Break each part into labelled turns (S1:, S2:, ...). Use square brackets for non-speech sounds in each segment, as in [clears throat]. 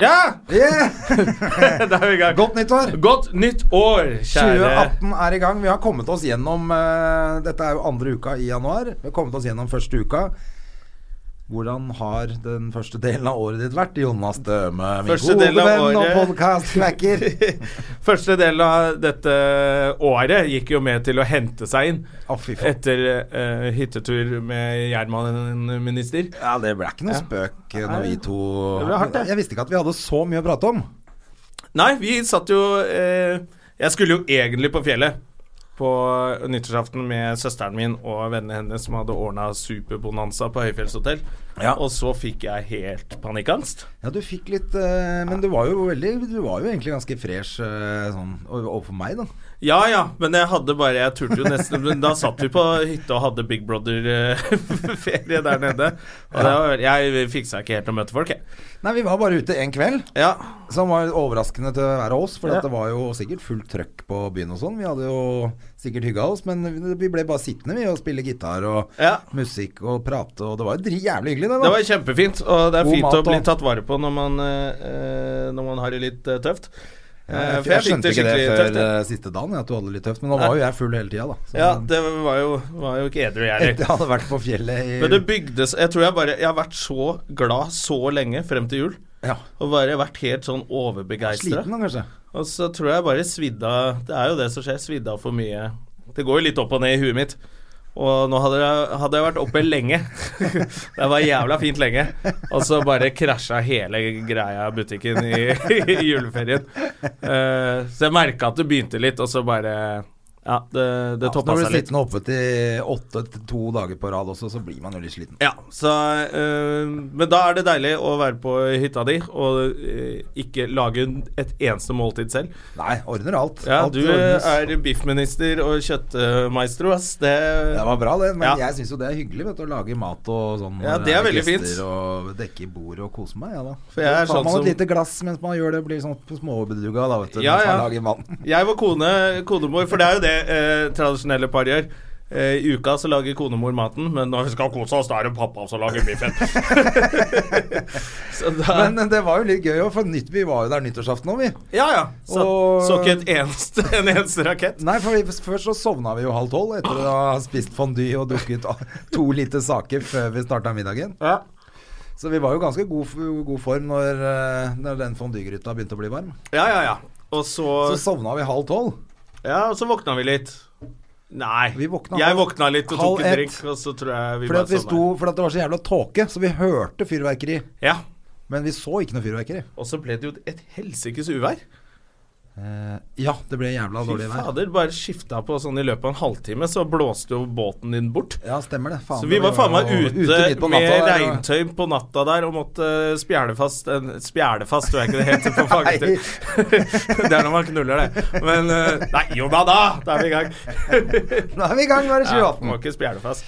S1: Ja!
S2: Yeah!
S1: [laughs] Da er vi i gang.
S2: Godt nyttår!
S1: Godt nytt år, kjære
S2: 2018 er i gang. Vi har kommet oss gjennom eh, Dette er jo andre uka i januar. Vi har kommet oss gjennom første uka. Hvordan har den første delen av året ditt vært, Jonas Døme? Min
S1: Første
S2: gode
S1: delen av
S2: venn og
S1: året.
S2: podkastknekker.
S1: [laughs] Første del av dette året gikk jo med til å hente seg inn
S2: Å, fy faen.
S1: etter eh, hyttetur med jernbaneminister.
S2: Ja, det ble ikke noe spøk eh, når vi to
S1: Det ble hardt, det.
S2: Jeg visste ikke at vi hadde så mye å prate om.
S1: Nei, vi satt jo eh, Jeg skulle jo egentlig på fjellet på nyttårsaften med søsteren min og vennene hennes som hadde ordna superbonanza på høyfjellshotell.
S2: Ja.
S1: Og så fikk jeg helt panikkangst.
S2: Ja, du fikk litt eh, Men du var jo veldig Du var jo egentlig ganske fresh eh, sånn overfor meg, da.
S1: Ja ja, men jeg hadde bare Jeg turte jo nesten men Da satt vi på hytta og hadde Big [laughs] Brother-ferie der nede. Og det var, jeg fiksa ikke helt å møte folk, jeg.
S2: Nei, vi var bare ute en kveld.
S1: Ja.
S2: Som var overraskende til hver av oss, for
S1: Ja.
S2: at det var jo sikkert fullt trøkk på byen og sånn. Vi hadde jo sikkert hygga oss, men vi ble bare sittende vi og spille gitar og
S1: Ja.
S2: musikk og prate, og det var jo dri- jævlig hyggelig, det.
S1: Det
S2: da
S1: var kjempefint, og det er
S2: God
S1: fint
S2: mat
S1: å bli
S2: og-
S1: tatt vare på når man, eh, når man har det litt eh, tøft. Eh,
S2: jeg,
S1: for jeg fikk
S2: skjønte
S1: det
S2: ikke det
S1: skikkelig
S2: før
S1: tøft. jeg.
S2: eh, siste dagen, at du hadde det litt tøft, men nå var jo jeg full hele tida, da. Så
S1: Ja, det var jo, var jo ikke edru,
S2: etter
S1: jeg
S2: [laughs]
S1: heller.
S2: jeg hadde vært på fjellet i
S1: Men det bygdes Jeg tror jeg bare Jeg har vært så glad så lenge frem til jul.
S2: ja,
S1: Og bare vært helt sånn overbegeistra.
S2: Sliten da, kanskje.
S1: Og så tror jeg bare svidda Det er jo det som skjer, svidda for mye Det går jo litt opp og ned i huet mitt. Og nå hadde jeg, hadde jeg vært oppe lenge. [laughs] det var jævla fint lenge. Og så bare krasja hele greia i butikken i, [laughs] i juleferien. Eh, så jeg merka at det begynte litt, og så bare Ja, det, det
S2: Ja, så
S1: toppa
S2: når du
S1: seg
S2: blir
S1: litt.
S2: sliten oppe til åtte til to dager på rad også, så blir man jo litt sliten.
S1: Ja, så, eh, Men da er det deilig å være på hytta di og eh, ikke lage et eneste måltid selv.
S2: Nei, ordner alt.
S1: Ja,
S2: alt
S1: du
S2: ordnes.
S1: er biffminister og kjøttmaestro, ass. Det,
S2: Det var bra, det. Men
S1: Ja.
S2: jeg syns jo det er hyggelig vet du, å lage mat og sånn.
S1: Ja,
S2: når
S1: det er
S2: det
S1: veldig fint.
S2: gjester, Og dekke i bordet og kose meg. Ja, da.
S1: For jeg er
S2: Så tar
S1: sånn
S2: man
S1: som-
S2: et lite glass mens man gjør det, blir sånn småbeduga da, vet du.
S1: Ja,
S2: mens man
S1: ja.
S2: lager maten.
S1: Jeg var kone, konemor, for det er jo det eh, tradisjonelle par gjør. Eh, I uka så lager konemor maten, men når vi skal kose oss, da er det pappa som lager biffen. [laughs] så da
S2: Men eh, det var jo litt gøy òg, for nytt, vi var jo der nyttårsaften òg, vi.
S1: Ja, ja. Så,
S2: Og-
S1: så ikke et eneste, [laughs] en eneste rakett.
S2: Nei, for vi- først så sovna vi jo halv tolv etter å ha spist fondue og drukket to lite saker før vi starta middagen.
S1: Ja.
S2: Så vi var jo ganske god, f- god form når, eh, når den fondygryta begynte å bli varm.
S1: ja, ja, ja. Og så,
S2: Så sovna vi halv tolv.
S1: Ja, og så våkna vi litt. Nei.
S2: Vi våkna
S1: jeg
S2: halv-
S1: våkna litt og
S2: halv
S1: tok en
S2: ett.
S1: drink, og så tror jeg vi
S2: Fordi
S1: bare
S2: at, vi
S1: sovna.
S2: sto, fordi at det var så jævla tåke, så vi hørte fyrverkeri.
S1: Ja.
S2: Men vi så ikke noe fyrverkeri.
S1: Og så ble det jo et helsikes uvær.
S2: Eh, Ja, det ble jævla
S1: Fy
S2: dårlig vær.
S1: fader, bare skifta på sånn i løpet av en halvtime, så blåste jo båten din bort.
S2: Ja, stemmer det. Faen,
S1: Så vi var
S2: det
S1: faen meg
S2: jo
S1: ute,
S2: midt på
S1: med
S2: natta der, og-
S1: regntøy på natta der og måtte eh, spjæle fast en, Spjæle fast, tror jeg ikke det heter
S2: [laughs]
S1: på
S2: Nei.
S1: fagtur. [laughs] det er når man knuller, det. Men eh, Nei, jo da, da! Da er vi i
S2: [laughs]
S1: gang.
S2: Nå er vi i gang, nå er det
S1: Ja, må
S2: 2018.
S1: ikke spjæle fast.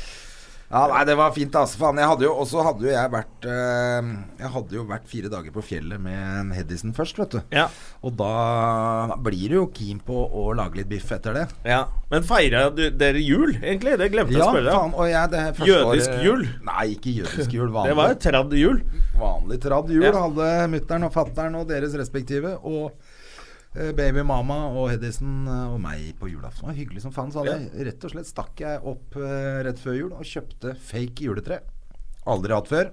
S2: Ja, nei, det var fint, altså. Faen. Jeg hadde jo, og så hadde jo jeg vært eh, Jeg hadde jo vært fire dager på fjellet med en Hedison først, vet du.
S1: Ja.
S2: Og da blir du jo keen på å lage litt biff etter det.
S1: ja. Men feira du- dere jul, egentlig? Det glemte jeg å
S2: Ja,
S1: spørre deg
S2: faen.
S1: om.
S2: Og jeg, det første
S1: Jødisk
S2: året-
S1: jul?
S2: Nei, ikke jødisk jul. Vanlig,
S1: [laughs] Det var jo tradd jul.
S2: vanlig tradd jul.
S1: Ja.
S2: Hadde mutter'n og fatter'n og deres respektive. Og eh, baby mama og Hedison eh, og meg på julaften. Det var hyggelig som faen. Så hadde jeg rett og slett stakk jeg opp eh, rett før jul og kjøpte fake juletre. Aldri hatt før.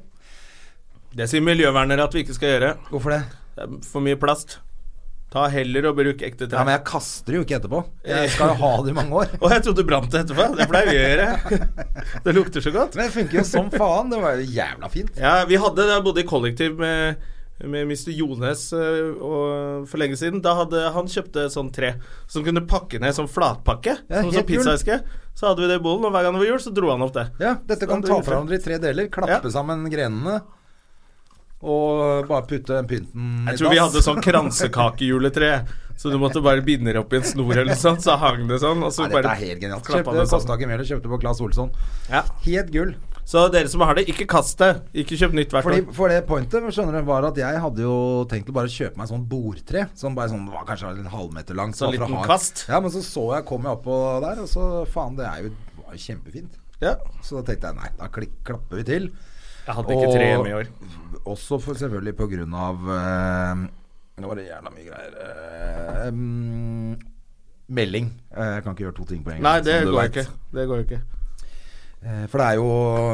S1: Det sier miljøvernere at vi ikke skal gjøre.
S2: Hvorfor det?
S1: Det er for mye plast. Ta heller og bruk ekte
S2: Ja, Men
S1: tre.
S2: jeg kaster det jo ikke etterpå. Jeg skal jo ha det i mange år.
S1: [laughs] Å, jeg trodde du brant det etterpå. Det pleier vi å
S2: [laughs]
S1: gjøre. Det lukter så godt.
S2: Men det funker jo som faen. Det var jo jævla fint.
S1: Ja, vi hadde Jeg bodde i kollektiv med, med Mr. Jones eh, og, for lenge siden. Da hadde han kjøpte sånn tre som kunne pakke ned som flatpakke.
S2: Ja,
S1: som
S2: helt
S1: sånn pizzaeske. Så hadde vi det i bollen, og hver gang det var jul, så dro han opp det.
S2: Ja, Dette kan ta fra hverandre i tre deler. Klappe
S1: Ja.
S2: sammen grenene. Og bare putte den pynten
S1: Jeg tror vi hadde sånn kransekakejuletre, så du måtte bare binde det opp i en snor eller noe sånt, så hang det sånn, og så
S2: Nei, dette
S1: bare
S2: er helt genialt. sånn.
S1: klappa
S2: Kjøpte
S1: det
S2: Kosta
S1: sammen.
S2: ikke mer, kjøpte på Claes Olsson.
S1: sånn. Ja.
S2: Helt gull.
S1: Så dere som har det, ikke kast det. Ikke kjøp nytt hvert
S2: Fordi,
S1: år.
S2: for det pointet skjønner du, var at jeg hadde jo tenkt å bare kjøpe meg sånn bordtre. Som bare sånn, var kanskje en halvmeter langt.
S1: Sånn
S2: bare for å
S1: liten
S2: ha-
S1: kvast?
S2: Ja, men så så jeg, kom jeg oppå der, og så faen, det er jo, var jo kjempefint.
S1: Ja.
S2: Så da tenkte jeg nei, da klik, klapper vi til.
S1: Jeg hadde ikke tre hjemme i år.
S2: Også for, selvfølgelig på grunn av eh, Nå var det jævla mye greier. eh, mm, melding. Eh, jeg kan ikke gjøre to ting på en gang.
S1: Nei, det
S2: som du
S1: går
S2: vet.
S1: ikke. Det går ikke.
S2: Eh, For det er jo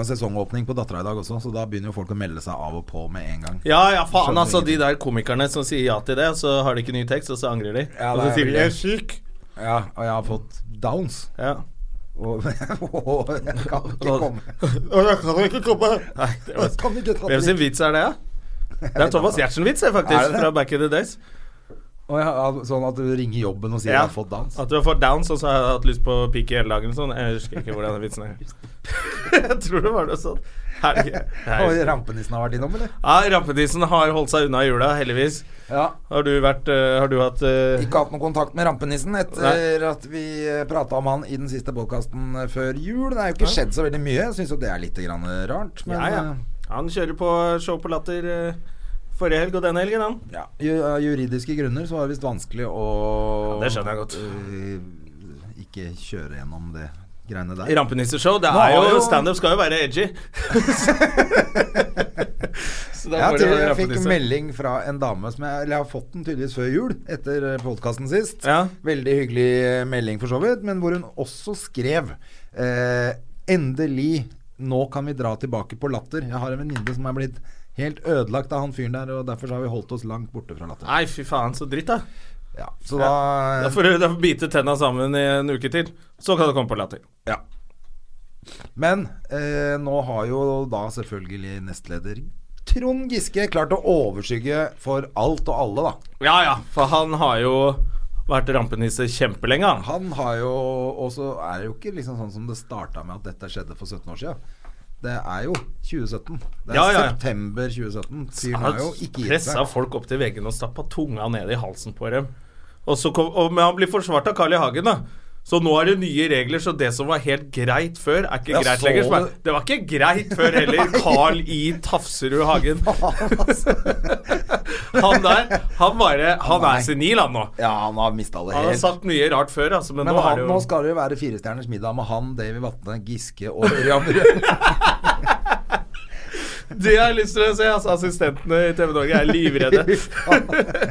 S2: sesongåpning på Dattera i dag også, så da begynner jo folk å melde seg av og på med en gang.
S1: Ja, ja, faen,
S2: Skjønner
S1: altså. De
S2: ingenting.
S1: der komikerne som sier ja til det, så har de ikke ny tekst, og så angrer de.
S2: Ja,
S1: og
S2: det
S1: så
S2: er
S1: sier
S2: vel
S1: de 'jeg
S2: det.
S1: er syk'.
S2: Ja, og jeg har fått downs.
S1: Ja.
S2: Og, [laughs] og jeg kan ikke komme.
S1: jeg kan ikke komme. Nei,
S2: [laughs]
S1: det
S2: Jeg
S1: var...
S2: kan ikke ta
S1: Hvem sin
S2: trikk.
S1: vits er det, da? Det er Thomas Giertsen-vits, det, faktisk.
S2: Er det det?
S1: Fra Back in the Days.
S2: Og jeg har, sånn at du ringer jobben og sier
S1: Ja.
S2: jeg har fått downs.
S1: At du har fått downs, og så har jeg hatt lyst på pikk i hele dagen. og Sånn. Jeg husker ikke hvordan den vitsen er. [laughs] jeg tror det var noe sånn. Er det
S2: [laughs]
S1: ikke?
S2: Og
S1: Nei.
S2: rampenissen har vært innom, eller?
S1: Ja, Rampenissen har holdt seg unna jula, heldigvis.
S2: Ja.
S1: Har du vært eh, Har du hatt eh,
S2: Ikke hatt noen kontakt med rampenissen etter at vi prata om han i den siste podkasten før jul. Det er jo ikke skjedd så veldig mye. Jeg syns jo det er litt grann eh, rart, men
S1: Ja, ja. Han kjører på show på Latter eh, forrige helg og denne helgen, han.
S2: eh, ja. Ju- Av juridiske grunner så var det visst vanskelig å
S1: Ja, det skjønner jeg godt.
S2: eh, Ikke kjøre gjennom det greiene der.
S1: Rampenisseshow. Det
S2: Nå
S1: er
S2: har
S1: jo
S2: jo-
S1: Standup skal jo være [laughs] edgy. Så da
S2: Ja,
S1: får det
S2: til,
S1: være
S2: jeg fikk
S1: rampenisse.
S2: melding fra en dame som jeg, eller jeg har fått den tydeligvis før jul, etter podkasten sist.
S1: Ja.
S2: Veldig hyggelig eh, melding for så vidt, men hvor hun også skrev eh, Endelig, nå kan vi dra tilbake på latter. Jeg har en venninne som er blitt helt ødelagt av han fyren der, og derfor så har vi holdt oss langt borte fra latter.
S1: Nei, fy faen, så dritt, da.
S2: Ja, så da
S1: Da får du da får du bite tenna sammen i en uke til. Så kan du komme på Latter.
S2: Ja. Men eh, nå har jo da selvfølgelig nestleder Trond Giske klart å overskygge for alt og alle, da.
S1: Ja ja, for han har jo vært rampenisse kjempelenge, han.
S2: Han har jo Og så er det jo ikke liksom sånn som det starta med at dette skjedde for 17 år siden. Det er jo 2017. Det er
S1: Ja, ja, ja.
S2: september 2017. Fyren
S1: Han
S2: har jo
S1: har
S2: ikke gitt
S1: pressa
S2: seg. [laughs]
S1: folk opp til veggen og stappa tunga ned i halsen på dem. Og så kom, og, men han blir forsvart av Carl I. Hagen, da. Så nå er det nye regler, så det som var helt greit før, er ikke
S2: Ja,
S1: greit
S2: så
S1: lenger. Så bare,
S2: det-
S1: det var ikke greit
S2: [laughs]
S1: før heller. Carl I. Tafserud Hagen.
S2: Altså.
S1: han der, han bare Han
S2: Nei.
S1: er senil, han nå.
S2: Ja, han har mista det
S1: Han har
S2: helt.
S1: sagt mye rart før, altså, men,
S2: Men
S1: nå
S2: han,
S1: er det
S2: nå
S1: jo
S2: skal det jo være Firestjerners middag med han, Davy Vatne, Giske
S1: [laughs]
S2: og Ørjan Røe.
S1: Det har jeg lyst til å se. Altså, assistentene i TV Norge er livredde.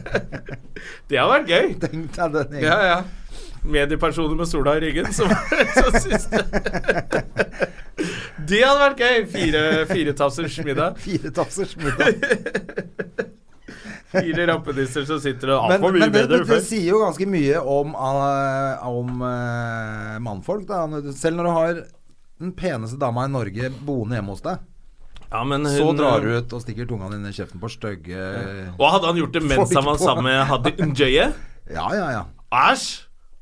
S2: [laughs]
S1: det har vært gøy.
S2: Tenk deg den gjengen.
S1: Ja, ja. Mediepersoner med sola i ryggen, som [laughs] som syns det. Det hadde vært gøy. Fire, fire tafsers middag.
S2: Fire tafsers middag.
S1: Fire rampenisser som sitter og
S2: Men,
S1: altfor
S2: men det,
S1: mye
S2: det,
S1: bedre enn
S2: det
S1: før.
S2: sier jo ganske mye om, eh, om eh, mannfolk, da. Selv når du har den peneste dama i Norge boende hjemme hos deg.
S1: Ja, men
S2: Så
S1: hun- eh,
S2: drar du ut og stikker tunga din i kjeften på stygge
S1: Og hadde han gjort det mens han var
S2: Folk på-
S1: sammen med Hadi Njøye?
S2: Ja, ja, ja.
S1: Æsj!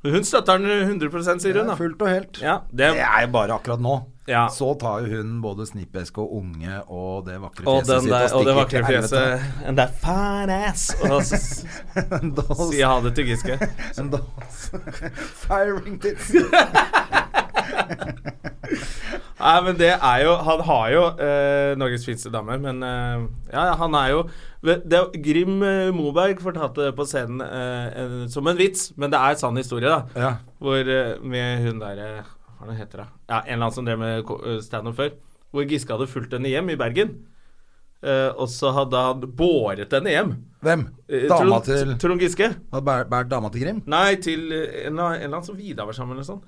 S1: Hun støtter han 100 sier hun, da.
S2: Fullt og helt.
S1: Ja,
S2: Det
S1: det,
S2: er jo bare akkurat nå.
S1: Ja.
S2: Så tar jo hun både snippeske og unge og det vakre
S1: og,
S2: fjeset
S1: den
S2: sitt
S1: der, og det vakre
S2: stikker til helvete.
S1: fjeset And that fine ass. Og så
S2: [laughs] En dås-
S1: sier ha det til Giske.
S2: [laughs] En dås [laughs] Firing tits.
S1: [laughs] Nei, men det er jo Han har jo eh, Norges fineste dame, men eh, ja, ja, han er jo Ve- det, er- Grim eh, Moberg fortalte det på scenen eh, en, som en vits, men det er sann historie, da.
S2: Ja.
S1: Hvor eh, med hun derre Hva er det hun heter, da? Ja, en eller annen som drev med ko- eh, standup før. Hvor Giske hadde fulgt henne hjem i Bergen. Eh, og så hadde han båret henne hjem.
S2: Hvem?
S1: Eh,
S2: Dama
S1: Trond-
S2: til
S1: Trond Giske.
S2: Har bær- Bært dama til Grim?
S1: Nei, til eh, en eller en eller annen som Vidar var sammen med, eller sånn.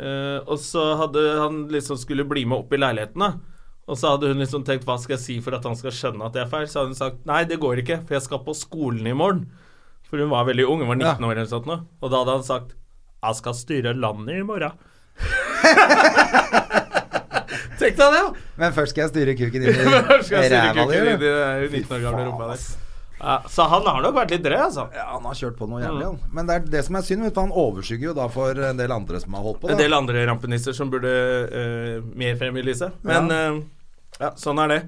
S1: Eh, og så hadde han liksom skulle bli med opp i leiligheten, da. Og så hadde hun liksom tenkt hva skal jeg si for at han skal skjønne at jeg er feil? Så hadde hun sagt nei, det går ikke, for jeg skal på skolen i morgen. For hun var veldig ung, hun var 19
S2: Ja.
S1: år eller sånt nå. Og da hadde han sagt jeg skal styre landet i morgen. [laughs] Tenk deg det, da!
S2: Men først skal jeg styre kuken
S1: [laughs]
S2: inn
S1: Skal jeg
S2: i
S1: styre
S2: ræva
S1: kukken inn i
S2: di.
S1: det 19 år gamle rumpa der. Ja, så han har nok vært litt drøy, altså.
S2: Ja, han har kjørt på noe jævlig, han. Men det er det som er synd, vet du. Han overskygger jo da for en del andre som har holdt på.
S1: En
S2: Da.
S1: del andre rampenisser som burde eh, mer frem i lyset. Men eh, ja, sånn er det.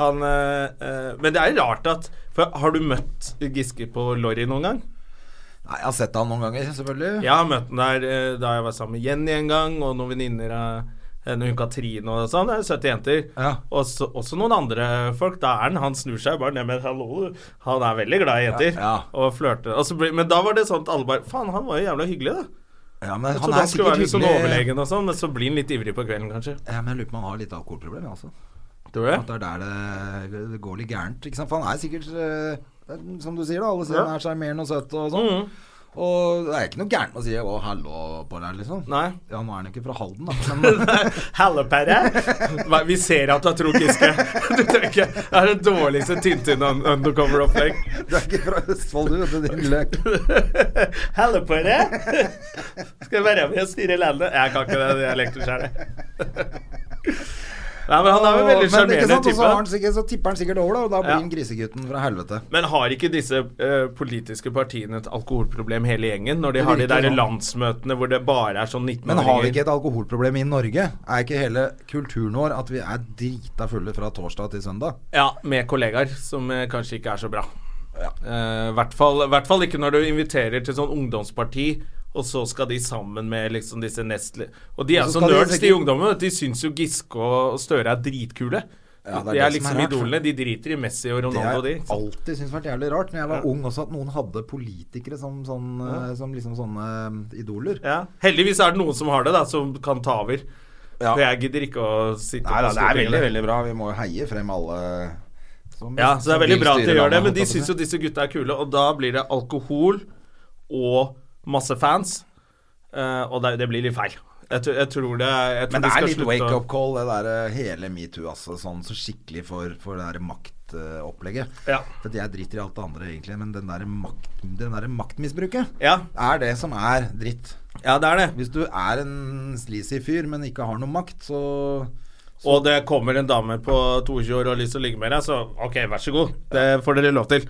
S1: Han eh, eh, Men det er rart at For har du møtt Giske på Lorry noen gang?
S2: Nei, jeg har sett han noen ganger, selvfølgelig.
S1: Jeg har møtt den der eh, da jeg var sammen med Jenny en gang, og noen venninner av henne, hun Katrine og sånn. Det er 70 jenter.
S2: Ja.
S1: Også, også noen andre folk. Da er han, han snur seg bare ned med hallo. Han er veldig glad i jenter.
S2: Ja, ja.
S1: Og flørter. Og så blir- Men da var det sånn at alle bare Faen, han var jo jævla hyggelig, da.
S2: Ja, men
S1: Jeg
S2: han
S1: trodde
S2: er
S1: han skulle
S2: sikkert
S1: være litt sånn
S2: hyggelig.
S1: overlegen og sånn, men så blir han litt ivrig på kvelden, kanskje.
S2: Ja, men jeg lurer på om han har litt alkoholproblem, altså.
S1: Tror du
S2: At det er der det, det går litt gærent. Ikke sant? For han er sikkert eh, det er Som du sier, da. Alle sier
S1: Ja. Mm.
S2: han er sjarmerende og søt og sånn. Og det er ikke noe gærent med å si 'å, hallo' på deg, liksom.
S1: Nei.
S2: Ja, nå er han jo ikke fra Halden, da. [laughs] Men,
S1: Hallepære. Hva- Vi ser at du har tro Giske. Du tenker, Det er det dårligste Tintin-undercover-opplegg.
S2: du er ikke fra Østfold, du, vet du, din løk.
S1: Hallo på deg! Skal jeg være med og styre landet? Jeg kan ikke det dialekten sjøl. Nei, men [laughs] han er jo en veldig
S2: Men ikke
S1: sjarmerende
S2: sant, og så
S1: type.
S2: har han sikkert- Så tipper han sikkert over, da, og da blir
S1: Ja.
S2: han grisegutten fra helvete.
S1: Men har ikke disse eh, politiske partiene et alkoholproblem hele gjengen? Når de
S2: Det
S1: har de
S2: virker
S1: der
S2: sånn.
S1: landsmøtene hvor det bare er sånn 19-åringer?
S2: Men har vi ikke et alkoholproblem i Norge? Er ikke hele kulturen vår at vi er drita fulle fra torsdag til søndag?
S1: Ja, med kollegaer, som eh, kanskje ikke er så bra. Eh, hvert fall, hvert fall ikke når du inviterer til sånn ungdomsparti, og så skal de sammen med liksom disse Nestle Og de er
S2: Og så
S1: så
S2: skal de
S1: nerds, de
S2: sikkert-
S1: ungdommene. vet du. De syns jo Giske og Støre er dritkule.
S2: Ja, det er
S1: de
S2: det
S1: er
S2: som
S1: liksom
S2: er rart.
S1: idolene. De driter i Messi og
S2: Det
S1: Ronaldo,
S2: har
S1: de.
S2: jeg
S1: Så-
S2: alltid syntes vært jævlig rart, når jeg var ung også, at noen hadde politikere som, sånn, eh, som liksom sånne eh, idoler.
S1: Ja. Heldigvis er det noen som har det, da, som kan ta over.
S2: Ja.
S1: For jeg gidder ikke å sitte
S2: Nei da, det er
S1: Stortinget
S2: veldig,
S1: der.
S2: veldig bra. Vi må jo heie frem alle som
S1: Ja, så det
S2: som
S1: er veldig
S2: vil
S1: bra at de
S2: styre landet,
S1: gjør det, men de
S2: holdt jeg
S1: syns
S2: på
S1: jo disse gutta er kule, og da blir det alkohol og masse fans, eh, og det, det blir litt feil. Jeg, tror- jeg tror det jeg tror
S2: Men det
S1: de
S2: er
S1: skal
S2: litt
S1: slutte å-
S2: wake-up call, det der eh, hele metoo, altså. Sånn så skikkelig for, for det derre maktopplegget.
S1: Ja.
S2: For jeg driter i alt det andre, egentlig, men den derre makt, den der maktmisbruket
S1: Ja,
S2: er det som er dritt.
S1: ja, det er det.
S2: Hvis du er en sleazy fyr, men ikke har noe makt, så
S1: Og det kommer en dame på 22 år og har lyst til å ligge med deg, så ok, vær så god. Det får dere lov til.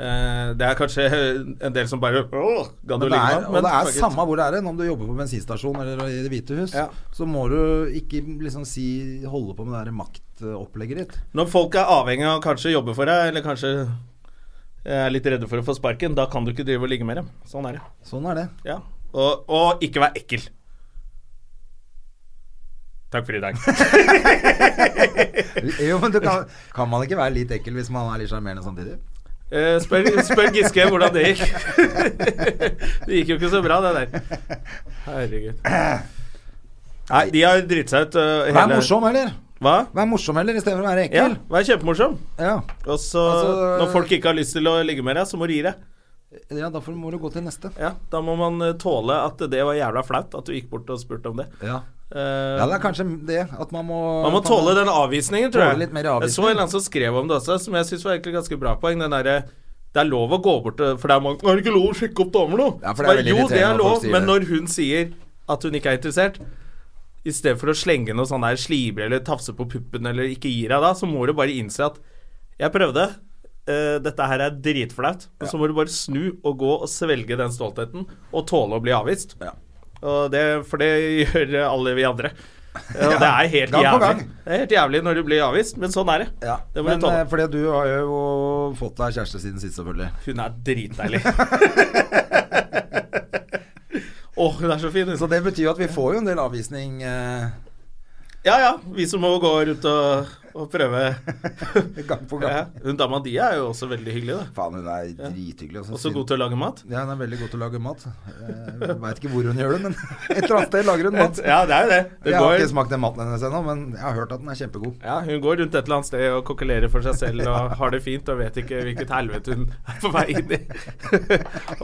S1: Eh, det er kanskje en del som bare Åh, gadd
S2: Men
S1: du ligge
S2: det
S1: med
S2: er,
S1: ham?
S2: og det er samme hvor det er hen, om du jobber på bensinstasjon eller i Det hvite hus,
S1: Ja.
S2: så må du ikke liksom si holde på med det der maktopplegget ditt.
S1: Når folk er avhengig av å kanskje jobbe for deg, eller kanskje er litt redde for å få sparken, da kan du ikke drive og ligge med dem. Sånn er det.
S2: Sånn
S1: [laughs]
S2: er det.
S1: Ja, og, og ikke vær ekkel. Takk for i dag.
S2: Jo, men du kan, [laughs] kan man ikke være litt ekkel hvis man er litt sjarmerende samtidig?
S1: [laughs] Eh, spør, spør Giske hvordan det gikk. [laughs] det gikk jo ikke så bra, det der. Herregud. Nei, de har driti seg ut. Uh, hele...
S2: Vær morsom heller!
S1: Hva?
S2: Vær morsom heller, istedenfor å være
S1: Ja,
S2: ekkel.
S1: vær kjempemorsom.
S2: Ja.
S1: Og så,
S2: Altså,
S1: når folk ikke har lyst til å ligge med deg, så må du gi deg.
S2: ja. da får- må du gå til neste.
S1: Ja, da må man eh, tåle at det var jævla flaut at du gikk bort og spurte om det.
S2: Ja.
S1: Eh,
S2: ja, det er kanskje det at man må
S1: Man må tåle den avvisningen, tror jeg.
S2: Tåle litt mer
S1: Jeg så en eller annen som skrev om det også, som jeg syns var egentlig ganske bra poeng. Den derre det er lov å gå bort til For det er mange Er det ikke lov å sjekke opp damer nå?
S2: Ja, for det er
S1: Bare,
S2: veldig
S1: jo, det
S2: irriterende
S1: er
S2: når
S1: lov,
S2: folk sier
S1: men når
S2: det.
S1: hun sier at hun ikke er interessert i stedet for å slenge noe sånn der slibre eller tafse på puppen eller ikke gi deg da, så må du bare innse at jeg prøvde, eh, dette her er dritflaut, men så må du bare snu og gå og svelge den stoltheten og tåle å bli avvist.
S2: Ja.
S1: Og det, for det [laughs] gjør alle vi andre. Eh, Og det er helt
S2: Gang på gang.
S1: jævlig. Det er helt jævlig når du blir avvist, men sånn er det.
S2: Ja.
S1: Det må
S2: Men
S1: du tåle.
S2: eh, fordi du har jo fått deg kjæreste siden sist, selvfølgelig.
S1: Hun er
S2: [laughs]
S1: dritdeilig. Å, hun er så fin,
S2: Så
S1: hun.
S2: det betyr jo at vi får jo en del avvisning. Eh, [laughs]
S1: Ja ja, vi som må gå rundt og, og prøve.
S2: Gang på gang.
S1: Ja, hun dama di er jo også veldig hyggelig, da.
S2: Faen, hun er drithyggelig. altså.
S1: Også god til å lage mat.
S2: Ja, hun er veldig god til å lage mat. Jeg veit ikke hvor hun gjør det, men [laughs] et eller annet sted lager hun mat.
S1: Ja, det er jo det. det
S2: Jeg har ikke
S1: går,
S2: smakt den maten hennes ennå, men jeg har hørt at den er kjempegod.
S1: ja, hun går rundt et eller annet sted og kokkelerer for seg selv og har det fint og vet ikke hvilket helvete hun er på vei inn i [laughs]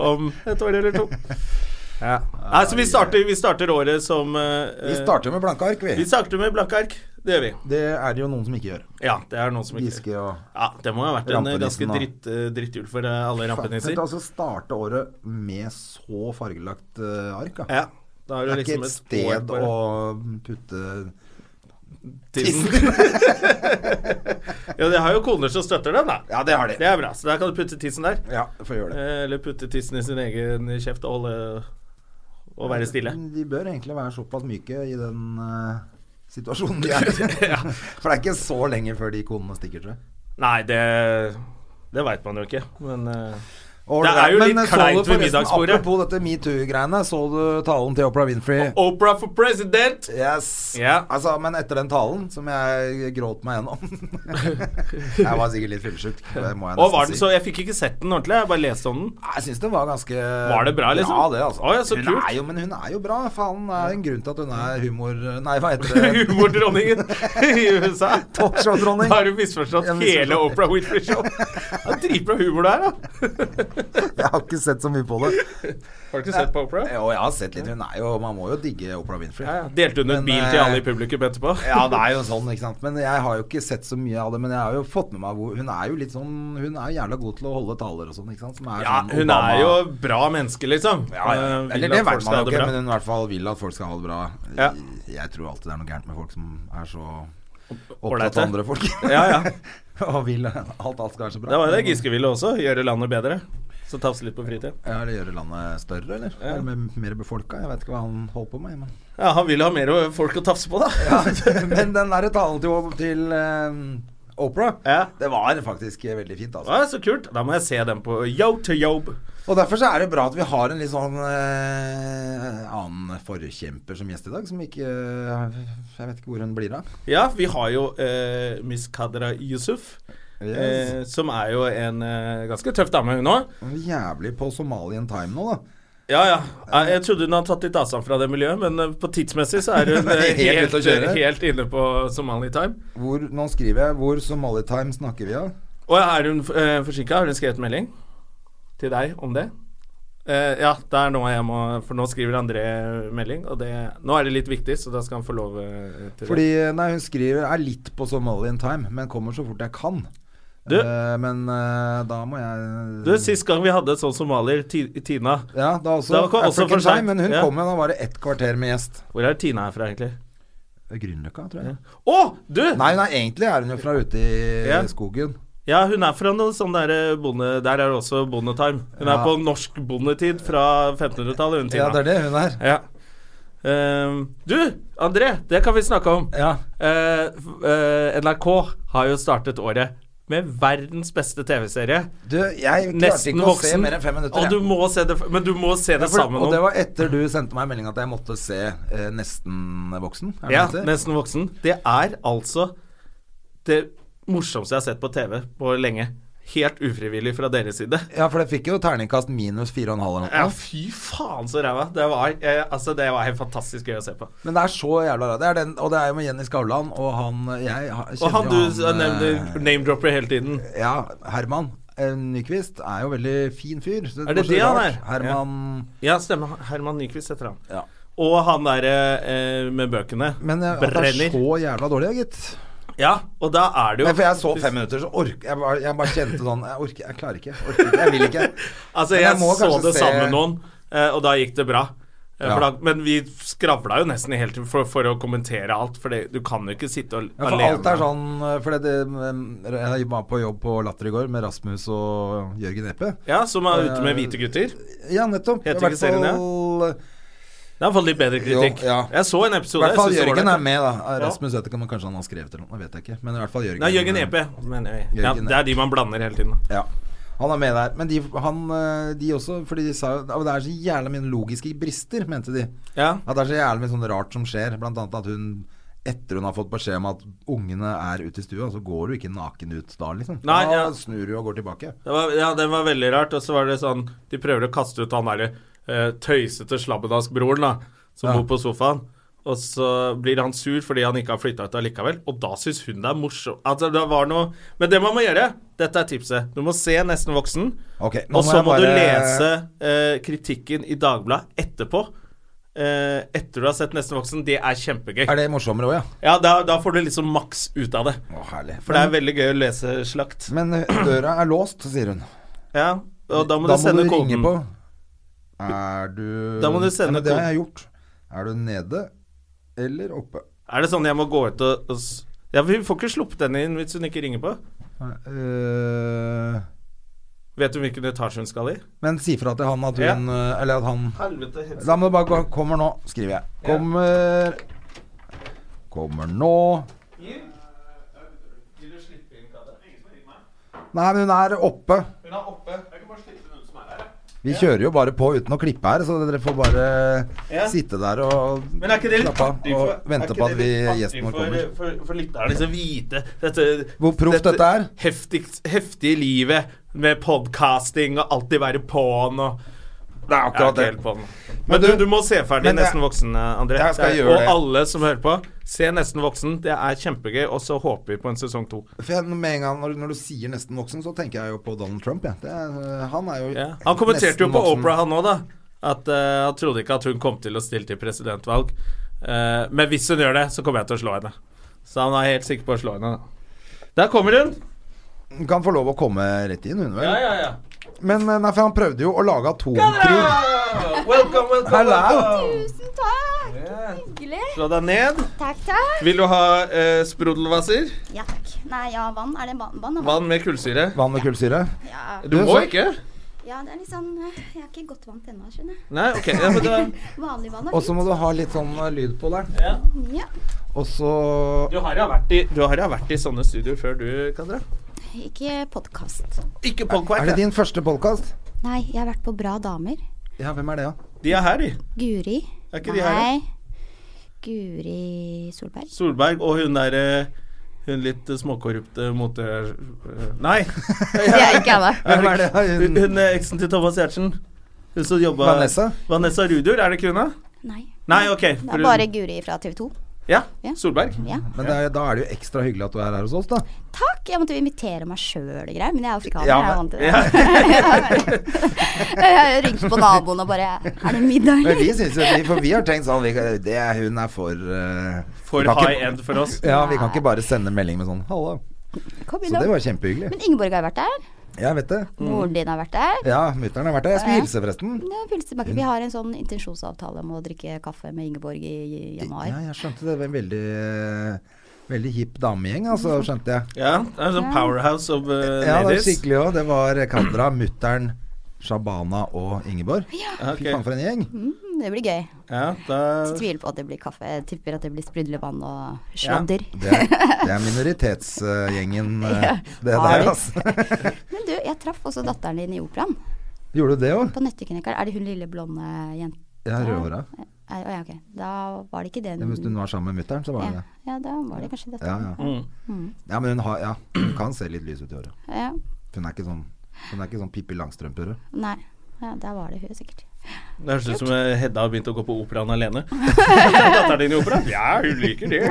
S1: om et år eller to. Ja. Nei, så vi starter, vi starter året som eh,
S2: Vi starter med blanke ark,
S1: vi
S2: vi.
S1: starter med blanke ark. Det gjør vi.
S2: Det er det jo noen som ikke gjør.
S1: Ja, det er noen som ikke
S2: Giske og
S1: Ja, det må ha vært en eh, ganske
S2: Rampenissen, da.
S1: dritt, eh, drittjul for eh, alle rampenisser.
S2: Tenk altså starte året med så fargelagt eh, ark. Da.
S1: Ja, da
S2: Det
S1: har du
S2: er ikke
S1: liksom
S2: et
S1: år
S2: sted
S1: bare-
S2: å putte
S1: tissen. [laughs] ja, de har jo koner som støtter dem, da.
S2: Ja, det har
S1: Det er bra. Så der kan du putte tissen der.
S2: Ja, får gjøre det.
S1: Eh, Eller putte tissen i sin egen kjeft og holde og være stille.
S2: Mm. De bør egentlig være såpass myke i den eh, situasjonen de er i.
S1: [laughs]
S2: For det er ikke så lenge før de konene stikker, tror jeg.
S1: Nei, det, det veit man jo ikke, men eh,
S2: Og
S1: Det er jo litt
S2: eh, så du
S1: kleint ved
S2: forresten,
S1: middagsbordet.
S2: Apropos dette metoo-greiene, så du talen til Oprah Winfrey?
S1: Oprah for president!
S2: Yes.
S1: Ja.
S2: Altså, men etter den talen, som jeg gråt meg gjennom [laughs] Jeg var sikkert litt fyllesyk. det må jeg
S1: Og
S2: nesten
S1: var den
S2: si.
S1: så Jeg fikk ikke sett den ordentlig, jeg bare leste om den.
S2: Nei, Jeg syns det var ganske
S1: Var det bra, liksom?
S2: Ja, det, altså.
S1: Å, ja, så
S2: hun
S1: kult.
S2: er jo, men hun er jo bra. Faen, det er en grunn til at hun er humor... Nei, hva
S1: [laughs]
S2: heter det?
S1: Humordronningen i USA.
S2: Talkshow-dronning.
S1: Da har du misforstått
S2: Jeg har misforstått.
S1: hele Oprah Winfrey Show. Det er dritbra humor der, da.
S2: Jeg har ikke sett så mye på det.
S1: Har du ikke sett på Oprah?
S2: Jo, jeg har sett litt. Hun er jo Man må jo digge Oprah Winfrey.
S1: Ja, ja. Delte hun ut
S2: Men,
S1: bil
S2: eh,
S1: til alle i publikum etterpå?
S2: Ja, det er jo sånn, ikke sant. Men jeg har jo ikke sett så mye av det. Men jeg har jo fått med meg hvor Hun er jo litt sånn Hun er jævla god til å holde taler og sånn, ikke sant. Som er
S1: Ja,
S2: sånn
S1: hun
S2: Obama-
S1: er jo bra menneske, liksom.
S2: ja, ja.
S1: Eh, vil
S2: Eller
S1: at
S2: det
S1: folk
S2: vet
S1: skal
S2: man
S1: ha
S2: jo
S1: det
S2: ikke,
S1: bra.
S2: men hun i hvert fall vil at folk skal ha det bra.
S1: Ja.
S2: Jeg tror alltid det er noe gærent med folk som er så
S1: Ålreite.
S2: opptatt av andre folk.
S1: Ja, ja.
S2: [laughs] og vil at alt skal være så bra.
S1: Det var jo det Giske ville også. Gjøre landet bedre. Så tafse litt på fritid.
S2: Ja, eller gjøre landet større, eller?
S1: Ja.
S2: Eller mer- mer befolka? Jeg vet ikke hva han holder på med. Men, [laughs]
S1: Ja, han vil ha mer folk å tafse på, da.
S2: men den derre talen til, til eh, Oprah,
S1: Ja.
S2: det var faktisk eh, veldig fint, altså.
S1: Ja, så kult. Da må jeg se den på Yo to Yob.
S2: Og derfor så er det bra at vi har en litt sånn eh, annen forkjemper som gjest i dag, som ikke eh, Jeg vet ikke hvor hun blir av.
S1: Ja, vi har jo eh, Miss Kadra Yusuf. Eh, som er jo en eh, ganske tøff dame, hun òg.
S2: Hun er Jævlig på Somalian time nå, da.
S1: Ja, ja. Eh, Jeg trodde hun hadde tatt litt avstand fra det miljøet, men eh, på tidsmessig så er hun eh,
S2: [laughs] Helt
S1: helt,
S2: ute å kjøre.
S1: helt inne på Somali Time.
S2: Hvor, nå skriver jeg 'Hvor Somali time snakker vi av?'
S1: Og er hun eh, forsinka? Har hun skrevet melding til deg om det? Eh, ja, det er nå jeg må For nå skriver André melding, og det Nå er det litt viktig, så da skal han få lov eh, til
S2: Fordi nei, hun skriver 'er litt på Somalian time', men kommer så fort jeg kan.
S1: Du-
S2: Eh, men eh, da må jeg
S1: det. Du, sist gang vi hadde en sånn somalier, Ti- Tina
S2: Ja, da også,
S1: Da kom også
S2: African
S1: for sent.
S2: time, men hun
S1: Ja.
S2: kom jo da bare ett kvarter med gjest.
S1: Hvor er Tina herfra, egentlig?
S2: Grünerløkka, tror jeg.
S1: Å, du!
S2: Nei, nei, egentlig er hun jo fra ute i
S1: Ja.
S2: skogen.
S1: Ja, hun er fra noe sånn der bonde... Der er det også bondetime. Hun er
S2: Ja.
S1: på norsk bondetid fra 1500-tallet,
S2: Ja,
S1: hun Tina.
S2: det er det hun er.
S1: Ja. Ehm, du, André, det kan vi snakke om.
S2: Ja.
S1: Eh, f- eh, NRK har jo startet året med verdens beste TV-serie.
S2: Du, jeg klarte
S1: Nesten
S2: ikke å se
S1: voksen.
S2: mer enn fem minutter.
S1: Og du
S2: jeg.
S1: må se det, f- men du må se det
S2: Ja, for-
S1: sammen
S2: og
S1: nå.
S2: det var etter du sendte meg melding at jeg måtte se eh, Nesten voksen. Er det
S1: Ja,
S2: det heter?
S1: Nesten voksen. Det er altså det morsomste jeg har sett på TV på lenge. Helt ufrivillig fra deres side.
S2: ja, for det fikk jo terningkast minus fire og en halv eller noe.
S1: Ja, fy faen så ræva. Det var, eh, altså, det var helt fantastisk gøy å se på.
S2: Men det er så jævla rart. Det er den, og det er jo med Jenny Skavlan og han jeg har- kjenner
S1: Og han du
S2: jo
S1: s- nevner
S2: eh,
S1: name-dropper hele tiden.
S2: Ja, Herman eh, Nyquist er jo veldig fin fyr. så
S1: Er
S2: var
S1: det
S2: så
S1: det han
S2: rart.
S1: er?
S2: Herman
S1: Ja, stemmer. Herman Nyquist heter han.
S2: Ja.
S1: Og han derre eh, med bøkene.
S2: Men eh, at det er
S1: Brenner.
S2: så jævla dårlig, ja, gitt.
S1: Ja, og da er det jo
S2: Nei, for jeg så fem minutter, så ork jeg bare, jeg bare kjente sånn Jeg orker, jeg klarer ikke. Jeg, orker ikke, jeg vil ikke.
S1: [laughs] Altså,
S2: Men
S1: jeg,
S2: må
S1: så
S2: kanskje
S1: det
S2: se-
S1: sammen med noen, eh, og da gikk det bra. Eh, For
S2: Ja.
S1: da, men vi skravla jo nesten hele tiden for, for å kommentere alt, for det, du kan jo ikke sitte og,
S2: Ja, for
S1: alene.
S2: alt er sånn eh, For det, det, eh, jeg var på jobb på Latter i går med Rasmus og Jørgen Eppe.
S1: Ja, som er ute
S2: Eh,
S1: med hvite gutter.
S2: Ja, nettopp.
S1: Heter
S2: I hvert
S1: ikke serien det?
S2: fall-
S1: Det har fått litt bedre kritikk.
S2: Jo, ja.
S1: Jeg så en
S2: I
S1: episode.
S2: hvert fall
S1: jeg synes det var
S2: Jørgen
S1: det.
S2: er med, da. Eh, Rasmus vet ikke om kanskje han har skrevet eller noe, det vet jeg ikke. Men i hvert fall Jørgen.
S1: Nei, Jørgen Epe. Men, eh, ja,
S2: Jørgen E
S1: det er de man blander hele tiden.
S2: Ja. Han er med der. Men de, han, eh, de også, fordi de sa jo "Ja, men Det er så jævla mye logiske brister, mente de.
S1: Ja.
S2: At det er så jævlig mye sånn rart som skjer. Blant annet at hun etter hun har fått beskjed om at ungene er ute i stua, så går du ikke naken ut da, liksom.
S1: Nei,
S2: da
S1: ja.
S2: snur du og går tilbake.
S1: Det var, ja, den var veldig rart. Og så var det sånn De prøver å kaste ut han derre eh, tøysete slabbedaskbroren, da, som
S2: Ja.
S1: bor på sofaen. Og så blir han sur fordi han ikke har flytta ut allikevel. Og da syns hun det er morsomt. Altså, det var noe Men det man må gjøre, dette er tipset. Du må se Nesten voksen,
S2: Ok, nå
S1: og
S2: må
S1: så
S2: jeg
S1: må du
S2: bare-
S1: lese eh, kritikken i Dagbladet etterpå. Eh, etter du har sett Nesten voksen. Det er kjempegøy.
S2: Er det morsommere òg, ja?
S1: Ja, da, da får du liksom maks ut av det.
S2: Å, herlig.
S1: For det er veldig gøy å lese slakt.
S2: Men eh, døra er låst, sier hun.
S1: Ja, og da må du sende koden.
S2: ringe på. Er du
S1: Da må du sende
S2: men Det har
S1: koden.
S2: jeg gjort. Er du nede eller oppe?
S1: Er det sånn jeg må gå ut og, og s- Ja, Vi får ikke sluppet henne inn hvis hun ikke ringer på.
S2: Eh,
S1: Vet du hvilken etasje hun skal i?
S2: men si fra til han at hun eh, Eller at han
S1: Helvete
S2: Da må du bare gå Kommer nå, skriver jeg. Kommer Kommer nå. Nei, men hun er oppe. Vi kjører jo bare på uten å klippe her, så dere får bare
S1: Ja.
S2: sitte der og
S1: Men er ikke det litt
S2: slappe av
S1: artig
S2: og
S1: for, er
S2: vente
S1: ikke
S2: på at
S1: det
S2: vi,
S1: litt artig
S2: gjesten vår
S1: for-
S2: kommer.
S1: For, for lytterne liksom vite dette,
S2: Hvor proft dette er?
S1: heftig- heftige livet med podcasting og alltid være på'n og
S2: Det er
S1: Jeg er
S2: akkurat
S1: ikke
S2: det.
S1: helt på'n.
S2: Men
S1: Men du,
S2: du-
S1: du må se ferdig
S2: men det-
S1: Nesten voksen, André.
S2: Jeg skal
S1: Det er-
S2: gjøre
S1: og
S2: det.
S1: alle som hører på, se Nesten voksen. Det er kjempegøy, og så håper vi på en sesong to.
S2: For jeg, med en gang når, når du sier 'nesten voksen', så tenker jeg jo på Donald Trump. Jeg. Det er, eh, han er jo
S1: Ja. Han kommenterte jo
S2: nesten
S1: på
S2: voksen.
S1: Opera han òg, da. At eh, han trodde ikke at hun kom til å stille til presidentvalg. Eh, men hvis hun gjør det, så kommer jeg til å slå henne. Så han er helt sikker på å slå henne. Da. Der kommer hun!
S2: Hun Kan få lov å komme rett inn, hun vel.
S1: Ja, ja, ja.
S2: Men eh, nei, for han prøvde jo å lage atomkrig.
S1: Welcome, welcome, welcome.
S3: Tusen takk!
S1: Yeah.
S3: Hyggelig.
S1: Slå deg ned.
S3: Takk, takk.
S1: Vil du ha eh, sprudelvasser?
S3: Ja takk. Nei, ja, vann. Er det vann? vann, er
S1: Vann med kullsyre?
S2: Vann med kullsyre.
S3: Ja.
S1: Du
S2: Du,
S1: må
S2: så-
S1: ikke.
S3: ja, det er litt sånn eh, Jeg er ikke godt vant ennå, skjønner jeg.
S1: Nei, ok. Ja, men da,
S3: Vanlig vann er
S2: Og så
S3: fint.
S2: må du ha litt sånn eh, lyd på der.
S3: Ja.
S2: Og så
S1: du har ja vært i, du har ja vært i sånne studioer før, du, Kadra.
S3: Ikke podkast.
S2: Er
S1: Ikke
S2: det
S1: Polkvark.
S2: din første podkast?
S3: Nei, jeg har vært på Bra damer.
S2: Ja, hvem er det, da?
S1: De er her, de.
S3: Guri.
S1: Er ikke de her, da?
S3: Guri Solberg.
S1: Solberg og hun derre hun litt eh, småkorrupte mote... eh, [laughs] Nei!
S3: Det er ikke jeg, da.
S2: Hvem er det?
S1: Hun,
S2: Hun,
S1: hun eh, eksen til Thomas Giertsen. Hun som jobba
S2: Vanessa?
S1: Vanessa Rudur, er det ikke hun, da?
S3: Nei.
S1: Nei, ok.
S3: Det
S1: for
S3: er
S1: hun-
S3: bare Guri fra TV 2.
S1: Ja,
S3: Ja.
S1: Solberg.
S3: Ja.
S2: Men det er, da er det jo ekstra hyggelig at du er her hos oss, da.
S3: Takk! Jeg måtte jo invitere meg sjøl og greier, men jeg er afrikaner.
S2: Ja,
S3: jeg er
S2: men-
S3: vant til det. [laughs] jeg ringte på naboen og bare Er det middag,
S2: Men vi
S3: eller?
S2: synes jo, vi- for vi har tenkt sånn vi, kan- det, er- Hun er for eh,
S1: [laughs] For
S2: vi kan
S1: high
S2: ikke,
S1: end for oss.
S2: Ja, vi kan ikke bare sende melding med sånn 'hallo'.
S3: Kom
S2: Så
S3: innom.
S2: det var kjempehyggelig.
S3: Men Ingeborg har vært der.
S2: Jeg vet det.
S3: Moren din har vært der.
S2: Mm. Ja, mutter'n har vært der. Jeg skulle
S3: Ja.
S2: hilse, forresten.
S3: Ja, Pølsebakke. Vi har en sånn intensjonsavtale om å drikke kaffe med Ingeborg i i januar.
S2: Ja, jeg skjønte det. det. var En veldig, eh, veldig hipp damegjeng, altså, skjønte jeg.
S1: Ja, det er en sånn powerhouse of eh,
S2: Ja, det var
S1: ladies.
S2: skikkelig òg. Det var Kadra, mutter'n, Shabana og Ingeborg.
S1: Ok.
S2: Fy faen, for en gjeng.
S3: Mm, Det blir gøy.
S1: Ja, da
S3: Jeg tviler på at det blir kaffe. Jeg tipper at det blir sprudlevann og sladder.
S2: Det er, det er minoritetsgjengen, eh,
S3: Ja,
S2: det
S3: har
S2: der,
S3: de.
S2: altså. [laughs]
S3: Men du, jeg traff også datteren din i operaen.
S2: Gjorde du det òg?
S3: På Nøtteknekkeren. Er det hun lille blonde jenta?
S2: Ja, rødhåra.
S3: Å ja, ok. Da var det ikke det
S2: Ja, Hvis hun var sammen med mutter'n, så var det
S3: ja.
S2: det.
S3: ja, da var det kanskje
S2: Ja,
S3: datteren.
S2: ja.
S1: Mm.
S2: ja men hun, har, ja, hun kan se litt lys ut i håret.
S3: Ja.
S2: Hun er ikke sånn, hun er ikke sånn Pippi Langstrømpe-rød.
S3: Nei. Ja, da var det hun sikkert.
S1: Det høres ut som eh, Hedda har begynt å gå på operaen
S3: [laughs]
S1: alene. Datteren din i operaen? Ja, hun liker det.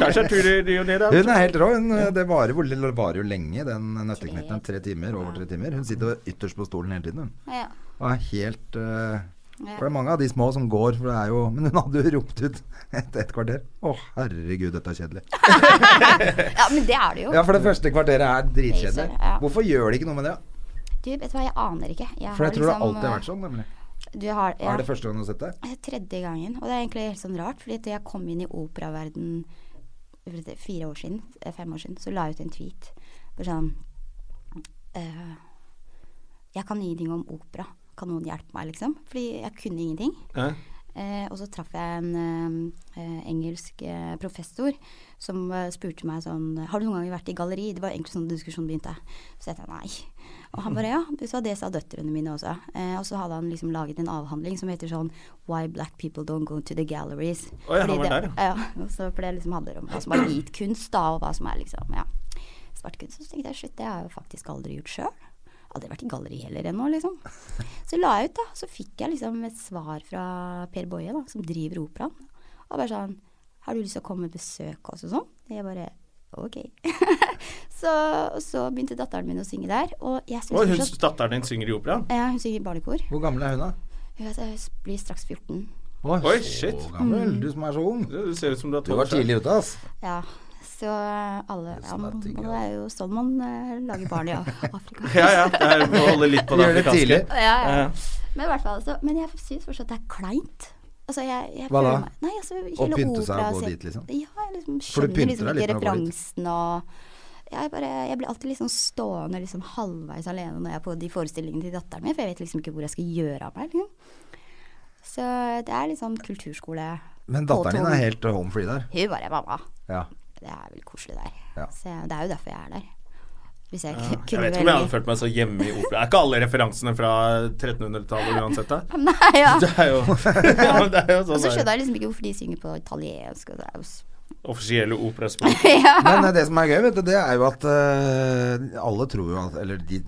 S1: Tar seg en tur i Rio Neda.
S2: Hun er helt rå. Hun, det varer, hvor- det varer jo lenge, den nøtteknekken. Tre timer, over tre timer. Hun sitter ytterst på stolen hele tiden, hun. [laughs]
S3: Ja.
S2: Og er helt eh,
S3: Ja.
S2: For det er mange av de små som går, for det er jo Men hun hadde jo ropt ut [laughs] etter et kvarter. Å, herregud, dette er kjedelig.
S3: ja, men det er det jo.
S2: Ja, for det første kvarteret er dritkjedelig.
S3: Kjedelig, ja.
S2: Hvorfor gjør de ikke noe med det?
S3: Du, vet du hva, jeg aner ikke. Jeg
S2: For jeg tror det alltid har
S3: eh,
S2: vært sånn, nemlig.
S3: Du har, ja,
S2: Er det første gang du har sett det?
S3: Eh, Tredje gangen. Og det er egentlig helt sånn rart, fordi at jeg kom inn i operaverden for et- fire år siden, eh, fem år siden, så la jeg ut en tweet. Bare sånn eh, Jeg kan ingenting om opera. Kan noen hjelpe meg, liksom? Fordi jeg kunne ingenting.
S1: Ja.
S3: Eh, og så traff jeg en eh, eh, engelsk eh, professor som eh, spurte meg sånn Har du noen gang vært i galleri? Det var egentlig sånn diskusjonen begynte. Så jeg tenkte nei. Og han bare ja, du sa det sa døtrene mine også. Eh, og så hadde han liksom laget en avhandling som heter sånn Why black people don't go to the galleries.
S1: Oi, han
S3: Fordi
S1: var
S3: det-
S1: der,
S3: ja. og så, for det liksom handler om hva som er hvit kunst, da, og hva som er liksom ja, svart kunst. Så tenkte jeg shit, det har jeg jo faktisk aldri gjort sjøl. Aldri vært i galleri heller ennå, liksom. Så la jeg ut, da. Så fikk jeg liksom et svar fra Per Boje, da, som driver operaen. Og bare sånn Har du lyst til å komme og besøke oss og sånn? Jeg bare OK. [laughs] så, og så begynte datteren min å synge der, og jeg
S1: Og
S3: syns
S1: hun,
S3: fortsatt
S1: datteren din synger i operaen?
S3: ja, Hun synger i barnekor.
S2: Hvor gammel er hun, da?
S3: Hun er- hun blir straks 14.
S1: Oi, shit.
S2: Så
S3: Mm.
S2: gammel. Du som er så ung.
S1: Du du ser ut som du har
S2: Du var
S1: tolv år.
S2: tidlig ute, ass.
S3: Ja. Så eh, alle
S2: Det er
S3: ja,
S2: sånn
S3: man,
S2: det er ting,
S3: man,
S2: ja.
S3: Det er jo sånn man eh, lager
S2: [laughs]
S3: barn i Af- Afrika.
S1: Ja, ja. Det er, må holde litt
S2: Du
S1: på det
S2: gjør det tidlig.
S1: afrikanske.
S3: [laughs] ja, ja.
S1: Ja.
S3: Men i hvert fall, altså, men jeg syns fortsatt det er kleint. Altså, jeg, jeg
S2: Hva da?
S3: føler meg- Nei, altså, hele
S2: pynte seg og
S3: opera
S2: gå
S3: ser-
S2: dit, liksom?
S3: Ja, jeg liksom
S2: For du
S3: skjønner
S2: pynter
S3: liksom
S2: deg litt når du går
S3: ikke
S2: dit.
S3: referansen og jeg, bare, jeg blir alltid liksom stående liksom halvveis alene når jeg er på de forestillingene til datteren min, for jeg vet liksom ikke hvor jeg skal gjøre av meg. Liksom. Så det er litt sånn kulturskole
S2: Men datteren din
S3: Påtog.
S2: er helt home free der.
S3: Hun bare 'mamma,
S2: Ja.
S3: det er vel koselig der'.
S2: Ja.
S3: Så jeg- det er jo derfor jeg er der. Hvis jeg
S1: Jeg
S3: kunne
S1: vet ikke om jeg hadde
S3: velge.
S1: følt meg så hjemme i opera. Er ikke alle referansene fra 1300-tallet uansett,
S2: [laughs]
S1: da?
S3: [laughs] Nei, ja.
S1: [laughs] Det er jo, [laughs] ja, men det er jo
S3: Og så
S1: sånn
S3: skjønner
S1: der,
S3: jeg liksom ikke hvorfor de synger på italiensk. Og det er jo s-
S1: offisielle operaspråk.
S2: Men eh, det som er gøy, vet du, det er jo at eh, alle tror jo at Eller de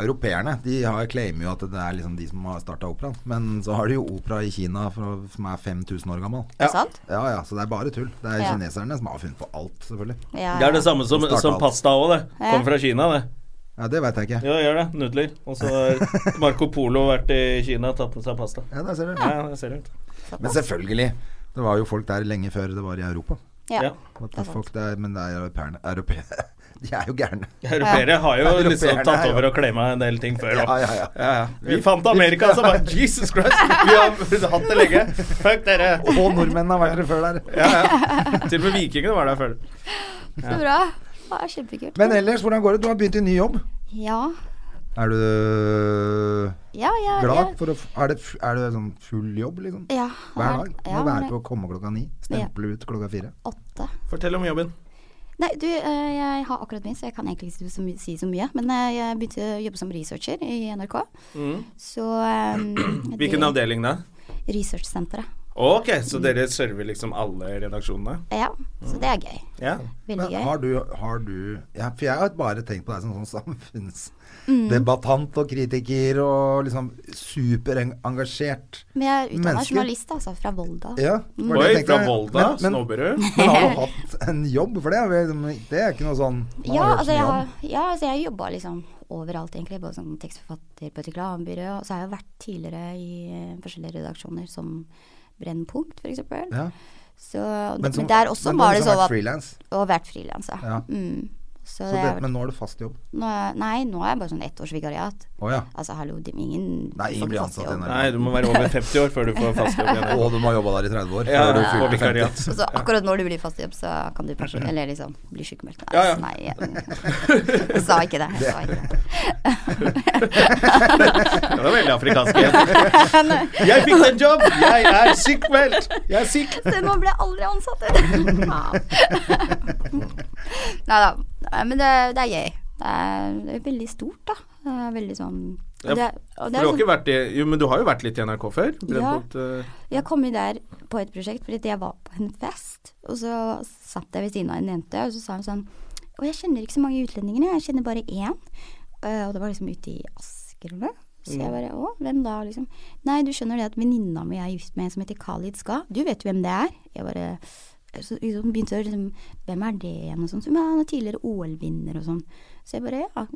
S2: europeerne, de har claimer jo at det er liksom de som har starta operaen. Men så har de jo opera i Kina fra, som er 5000 år gammel.
S3: sant?
S2: Ja ja, så det er bare tull. Det er
S3: Ja.
S2: kineserne som har funnet på alt, selvfølgelig.
S3: Ja,
S1: Det er det samme som,
S2: Starta
S1: som
S2: alt.
S1: pasta òg, det. Kommer fra Kina, det.
S2: Ja, det veit jeg ikke.
S1: Jo, gjør det. Nudler. Og så har Marco Polo vært i Kina og tatt med seg pasta.
S2: Ja, der ser du.
S1: Ja, det ser ut.
S2: Men selvfølgelig. Det var jo folk der lenge før det var i Europa.
S3: ja.
S1: Ja.
S2: What the fuck, det er, men det er europeerne Europeerne [laughs] De er jo gærne.
S1: Europeere har jo
S2: Europeerne
S1: liksom tatt
S2: er jo-
S1: over og klema en del ting før. da.
S2: Ja, ja, ja.
S1: Vi fant Amerika, så bare Jesus Christ! Vi har hatt det lenge. Fuck dere!
S2: Og nordmennene har vært der før der.
S1: Ja, ja. Til og med vikingene var der før.
S3: Så bra. Det er kjempekult.
S2: Men ellers, hvordan går det? Du har begynt i ny jobb.
S3: Ja.
S2: Er du øh,
S3: Ja, ja,
S2: glad
S3: ja.
S2: for å f- Er det, f- er det sånn full jobb, liksom?
S3: Ja,
S2: Hver dag?
S3: Ja,
S2: Må være
S3: det-
S2: på å komme klokka ni. Stemple ut klokka fire.
S3: Åtte.
S1: Fortell om jobben.
S3: Nei, du, eh, jeg har akkurat min, så jeg kan egentlig ikke si så my- si så mye. Men eh, jeg begynte å jobbe som researcher i NRK. Så eh,
S1: Mm. [clears throat] Hvilken
S2: Mm.
S3: det-
S1: avdeling da?
S3: Researchsenteret.
S1: Ok, så dere server liksom alle redaksjonene?
S3: Ja, så det er gøy.
S1: Ja.
S3: Veldig
S2: Men
S3: gøy.
S2: har du, har du ja, For jeg har bare tenkt på deg som sånn
S3: Mm.
S2: samfunnsdebattant og kritiker og liksom superengasjert.
S3: Men jeg er utdanna
S2: Menneske?
S3: journalist, altså, fra Volda.
S2: Ja, var det jeg
S1: Oi,
S2: tenkte.
S1: fra Volda?
S2: Men- men-
S1: Snobberud?
S2: Men har du hatt en jobb for det? Er vi liksom- Det er ikke noe sånn man
S3: Ja,
S2: har hørt så mye
S3: altså, jeg
S2: om.
S3: har, ja, altså jeg jobba liksom overalt, egentlig. Både som tekstforfatter på et reklamebyrå. Og så har jeg vært tidligere i eh, forskjellige redaksjoner, som Brennpunkt, f.eks.
S2: Ja.
S3: Så, men,
S2: som-
S3: men der også
S2: men
S3: var
S2: du
S3: det
S2: som
S3: sånn
S2: har vært
S3: at
S2: frilans.
S3: Og vært frilans, ja.
S2: Ja.
S3: Mm. Så,
S2: Så
S3: det,
S2: det,
S3: har vært-
S2: men nå har du fast jobb.
S3: nå, er- nei, nå er jeg bare sånn ettårsvikariat.
S2: Å ja.
S3: Altså hallo, det er ingen
S2: Nei, ingen
S3: får
S2: blir
S3: fast
S2: ansatt i
S3: jobb.
S2: NRK.
S1: Nei, du må være over 50 år før du får fast jobb igjen.
S2: Og du må ha jobba der i 30 år.
S1: Ja,
S2: før du
S1: ja,
S2: fyller
S1: og
S2: 50.
S1: vikariat.
S2: [laughs]
S3: Så akkurat når du blir fast i jobb, så kan du pensjon- eller liksom bli sykemeldt. Nei,
S1: Ja, ja.
S3: nei [laughs] jeg, jeg sa ikke det. Jeg sa ikke det.
S1: Det var veldig afrikansk igjen. Jeg fikk den jobb! Jeg er sykmeldt! Jeg er syk!
S3: [laughs] Så nå ble jeg aldri ansatt. Nei [laughs] da. Men det, det er gøy. Det er, det er veldig stort, da. Det er veldig sånn og
S1: Ja,
S3: det er- og
S1: For
S3: det
S1: du
S3: er
S1: har
S3: sånn-
S1: ikke vært i Jo, men du har jo vært litt i NRK før?
S3: Ja.
S1: Brennpunkt, eh,
S3: Jeg kom jo der på et prosjekt fordi jeg var på en fest, og så satt jeg ved siden av en jente, og så sa hun sånn Å, jeg kjenner ikke så mange utlendinger, jeg kjenner bare én. Eh, og det var liksom ute i Asker eller noe. Så
S1: Mm.
S3: jeg bare Å, hvem da, liksom? Nei, du skjønner det at venninna mi er gift med en som heter Khalid Ska. Du vet jo hvem det er. Jeg bare så liksom begynte å liksom Hvem er det igjen? Og sånn. Så, men han er tidligere OL-vinner og sånn. Så jeg bare Ja,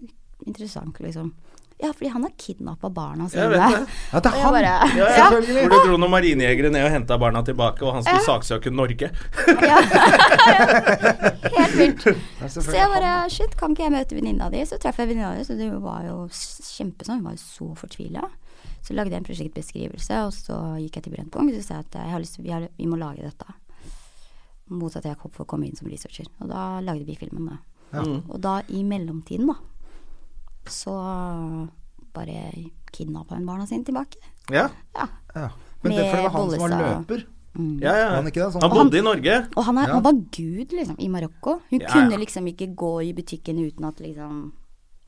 S3: interessant, liksom. Ja, fordi han har kidnappa barna
S1: Jeg
S3: sine.
S1: vet
S3: [laughs]
S1: det.
S2: Ja, det er
S3: Og jeg
S2: han.
S1: Ja,
S3: bare-
S1: ja.
S3: [laughs] Ja.
S1: Hvor du dro noen marinejegere ned og henta barna tilbake, og han skulle saksøke Norge.
S3: Ja. Helt vilt.
S2: Det er
S3: Så
S2: selvfølgelig
S3: jeg bare
S2: han.
S3: Shit, kan ikke jeg møte venninna di? Så traff jeg venninna di, så det var jo s- kjempesånn. Hun var jo så fortvila. Så lagde jeg en prosjektbeskrivelse, og så gikk jeg til Brennpunkt og sa jeg at jeg har lyst, vi, har, vi må lage dette. Mot at jeg kom- får komme inn som researcher. Og da lagde vi filmen, da.
S1: Mm.
S3: Og da, i mellomtiden, da, så bare kidnappa hun barna sine tilbake.
S1: Ja,
S3: Ja.
S2: Ja. Men det er fordi det var han som var
S3: Bollestad.
S2: løper.
S1: ja, ja.
S2: Var han ikke det? Sånn-
S1: Han bodde i Norge.
S3: Og han, er,
S2: Ja.
S3: han var gud, liksom, i Marokko. Hun
S1: Ja,
S3: kunne
S1: ja.
S3: liksom ikke gå i butikken uten at liksom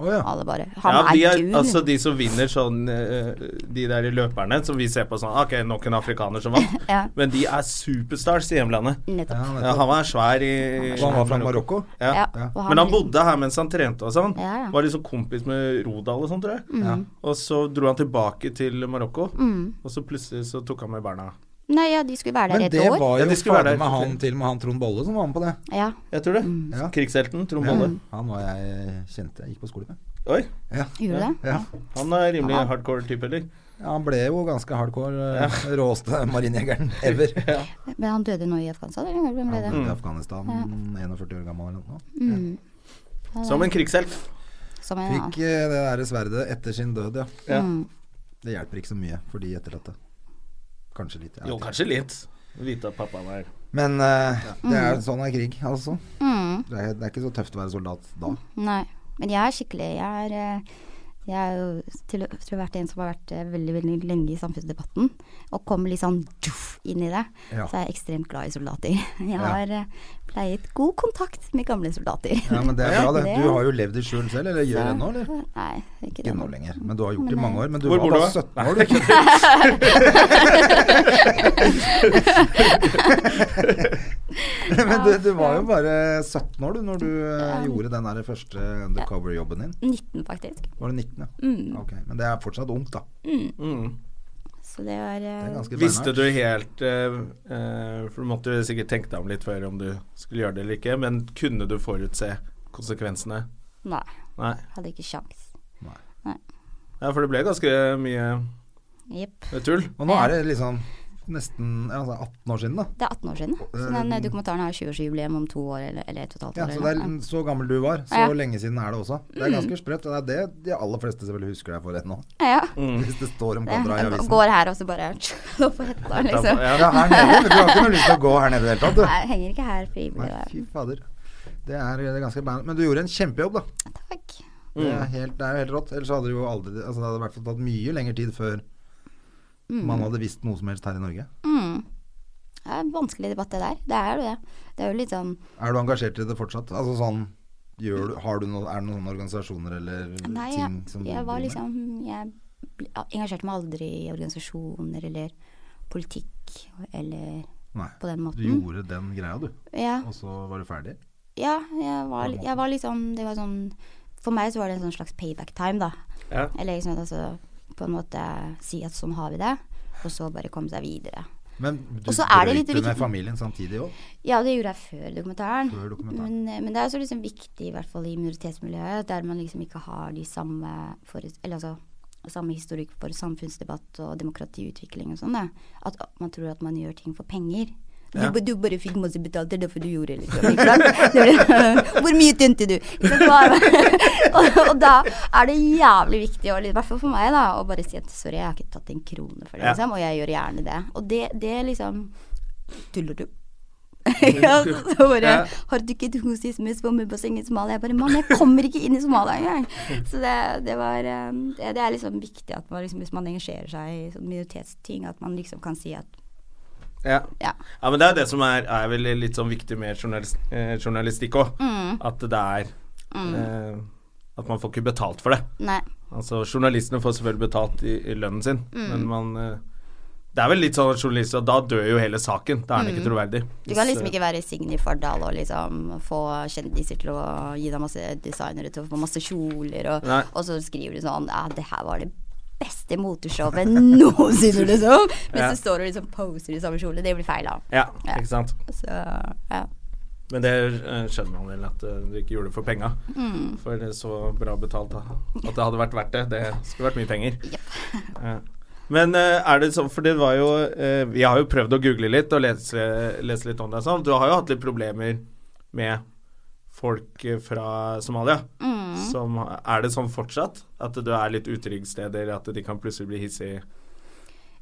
S2: Å ja.
S3: alle bare Han
S1: Ja,
S3: er,
S1: de, er,
S3: gud.
S1: altså, de som vinner sånn eh, De der løperne som vi ser på sånn Ok, nok en afrikaner som vant.
S3: [laughs] Ja.
S1: Men de er superstars i hjemlandet.
S3: Nettopp.
S2: Ja,
S1: Ja, han var svær i
S2: Og han var fra Marokko?
S1: Ja.
S3: Ja, og han
S1: Men han
S3: liksom-
S1: bodde her mens han trente og sånn.
S3: Ja, Mm. ja.
S1: Var liksom kompis med Rodal og sånn, tror jeg. Og så dro han tilbake til Marokko, og så plutselig så tok han med barna.
S3: Mm. Nei, ja, de skulle være der
S2: Men
S3: et
S2: det
S3: år.
S2: var
S1: Ja,
S2: jo
S1: de skulle være
S2: fader
S1: der.
S2: meg han til og med han Trond Bolle som var med på det.
S3: Ja.
S1: Jeg tror det.
S3: Mm.
S2: Ja.
S1: Krigshelten Trond
S2: Ja.
S1: Bolle.
S2: Han var jeg eh, kjente jeg gikk på skole med.
S1: Oi,
S3: Gjorde det?
S2: Ja.
S1: han er rimelig hardcore type, eller?
S2: Ja, han ble jo ganske hardcore, eh, [laughs] råeste marinejegeren
S1: [laughs]
S2: ever.
S3: Men han døde nå i Afghanistan, eller hvordan ble det?
S1: Mm.
S3: Mm.
S2: Han var i Afghanistan, 41 år gammel eller noe.
S1: Som en krigshelt.
S3: Som en annen. Mm.
S2: Fikk eh, det der sverdet etter sin død, ja.
S1: Ja.
S2: Det hjelper ikke så mye for de etterlatte. Kanskje litt. jeg
S1: Jo,
S2: vet ikke.
S1: kanskje litt. Vite at pappa var
S2: Men eh, det
S3: Mm.
S2: er sånn er krig, altså. Det, er, det er ikke så tøft å være soldat da.
S3: Nei. Men jeg er skikkelig Jeg er eh, Jeg er jo til, tror jeg har vært en som har vært eh, veldig veldig lenge i samfunnsdebatten, og kom litt sånn duff inn i det.
S2: Ja.
S3: Så jeg er ekstremt glad i soldater. [laughs] Jeg har eh, pleiet god kontakt med gamle soldater.
S2: Ja, men det er bra, det.
S3: [laughs] Det-
S2: Du har jo levd i skjul selv, eller gjør det nå, eller?
S3: Nei, ikke det.
S2: Ikke nå lenger, men du har gjort det i mange år. Men du
S1: Hvor
S2: var
S1: bor du,
S2: bare
S1: da?
S2: 17 år, [laughs] du. men du, du var jo bare 17 år, du, når du eh, gjorde den der første undercover-jobben din.
S3: 19 faktisk.
S2: Var det 19, ja? Ok, Men det er fortsatt ungt, da.
S3: Så det var
S2: Det er
S3: eh,
S2: ganske
S1: Mm. Visste
S2: beinhardt.
S1: du helt eh, eh, For du måtte jo sikkert tenke deg om litt før om du skulle gjøre det eller ikke, men kunne du forutse konsekvensene?
S3: Nei,
S1: Nei.
S3: hadde ikke sjans.
S1: Ja, for det ble ganske mye
S3: Jepp.
S1: tull.
S2: Og nå er det liksom nesten ja, altså 18 år siden, da.
S3: Det er 18 år siden. Så den eh, dokumentaren har 20-årsjubileum om to år, eller, eller et og et halvt
S2: Ja,
S3: år.
S2: så det
S3: eller
S2: er
S3: noe.
S2: så gammel du var. Så
S3: Ja. Mm.
S2: lenge siden er det også. Det er ganske sprøtt. og Det er det de aller fleste selvfølgelig husker deg for ennå.
S3: ja. ja.
S2: [laughs] Hvis det står om
S3: Det-
S2: kontra Mm. i
S3: jeg
S2: avisen.
S3: går her og så bare [laughs] slår på hetta, liksom.
S1: Ja,
S2: Ja, her nede. Du har ikke noe lyst til å gå her nede i det hele tatt, du.
S3: Nei, jeg henger ikke her frivillig.
S2: Nei,
S3: da.
S2: fy fader. Det er, det er ganske band. Men du gjorde en kjempejobb, da.
S3: Takk.
S2: Det er, helt, det er jo helt rått. Ellers hadde det jo aldri altså Det hadde i hvert fall tatt mye lengre tid før
S3: Mm.
S2: man hadde visst noe som helst her i Norge.
S3: Det er en vanskelig debatt, det der. Det er jo det. Det er jo litt sånn
S2: Er du engasjert i det fortsatt? Altså sånn gjør du, har du noe, Er det noen organisasjoner eller
S3: Nei,
S2: ting
S3: jeg,
S2: som du
S3: jeg
S2: driver
S3: var
S2: med?
S3: liksom Jeg ble- engasjerte meg aldri i organisasjoner eller politikk eller
S2: Nei.
S3: på den
S2: Du
S3: måten.
S2: gjorde den greia, du.
S3: Ja,
S2: Og så var du ferdig.
S3: ja jeg, var, jeg var liksom Det var sånn For meg så var det en sånn slags payback time, da.
S1: Ja.
S3: Eller liksom altså på en måte si at sånn har vi det, og så bare komme seg videre.
S2: Men du
S3: Og så er det litt
S2: brøyte med
S3: viktig-
S2: familien samtidig òg.
S3: Ja, det gjorde jeg før dokumentaren.
S2: Før dokumentaren.
S3: Men, men det er også liksom viktig, i hvert fall i minoritetsmiljøet, der man liksom ikke har de samme for, Eller altså samme historikk for samfunnsdebatt og demokratiutvikling og sånn, da. At man tror at man gjør ting for penger. Du, ba- du bare fikk masse betalt, det er derfor du gjorde det, liksom. Ikke sant? [laughs] Det blir- Hvor mye tjente du? Ikke sant? Hva- [laughs] og, og da er det jævlig viktig, og i hvert fall for meg, da, å bare si at sorry, jeg har ikke tatt en krone for det,
S1: Ja.
S3: liksom. Og jeg gjør gjerne det. Og det, det liksom Tuller du? [laughs] ja, så bare
S1: Ja.
S3: Har du ikke et hosis med svømmebasseng i Somalia? Jeg bare Mann, jeg kommer ikke inn i Somalia
S1: [laughs]
S3: engang! Så det, det var eh, det, det er liksom viktig at man liksom, hvis man engasjerer seg i sånn minoritetsting, at man liksom kan si at
S1: Ja.
S3: ja.
S1: Ja, men det er det som er, er vel litt sånn viktig med journalis eh, journalistikk òg.
S3: Mm.
S1: At det er eh, At man får ikke betalt for det.
S3: Nei.
S1: Altså, journalistene får selvfølgelig betalt i, i lønnen sin,
S3: Mm.
S1: men man eh, Det er vel litt sånn at journalister Da dør jo hele saken. Da er den ikke troverdig. eh,
S3: Du Mm. kan liksom ikke være Signy Fardal og liksom få kjendiser til å gi deg masse designere til å få masse kjoler, og,
S1: Nei.
S3: og så skriver du sånn Ja, det her var det beste moteshowet noensinne,
S1: [laughs]
S3: liksom! Hvis
S1: Ja.
S3: du står og liksom poser i samme kjole. Det blir feil, da.
S1: Ja,
S3: Ja.
S1: ikke sant.
S3: Så ja.
S1: Men det eh, skjønner man vel, at eh, du ikke gjorde det for penga. For det er så bra betalt da. at det hadde vært verdt det. Det skulle vært mye penger. [laughs] Ja. Men eh, er det sånn, for det var jo eh, Vi har jo prøvd å google litt og lese, lese litt om deg sånn. Du har jo hatt litt problemer med folk eh, fra Somalia.
S3: Mm.
S1: Som, er det sånn fortsatt? At du er litt utrygge steder? At de kan plutselig bli hissige?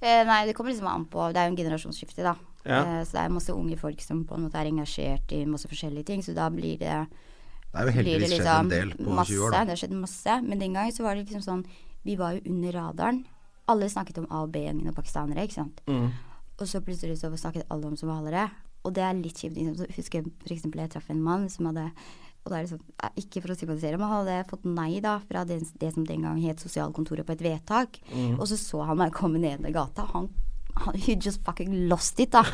S3: Eh, nei, det kommer liksom an på Det er jo en generasjonsskifte, da.
S1: Ja.
S3: Eh, så det er masse unge folk som på en måte er engasjert i masse forskjellige ting, så da blir det
S2: Det er jo
S3: blir
S2: heldigvis
S3: det liksom
S2: skjedd en del på
S3: masse,
S2: 20 år.
S3: Det
S2: Da.
S3: har skjedd masse. Men den gang så var det liksom sånn Vi var jo under radaren. Alle snakket om A- og B-gjengen og pakistanere, ikke sant. Og så plutselig så snakket alle om somaliere. Og det er litt kjipt. liksom. Så husker jeg for eksempel jeg traff en mann som hadde og det er liksom, eh, Ikke for å sympatisere, men han hadde fått nei da fra det, det som den gang het sosialkontoret på et vedtak. Og så så han meg komme ned i gata. Han, han He just fucking lost it, da. [laughs] Og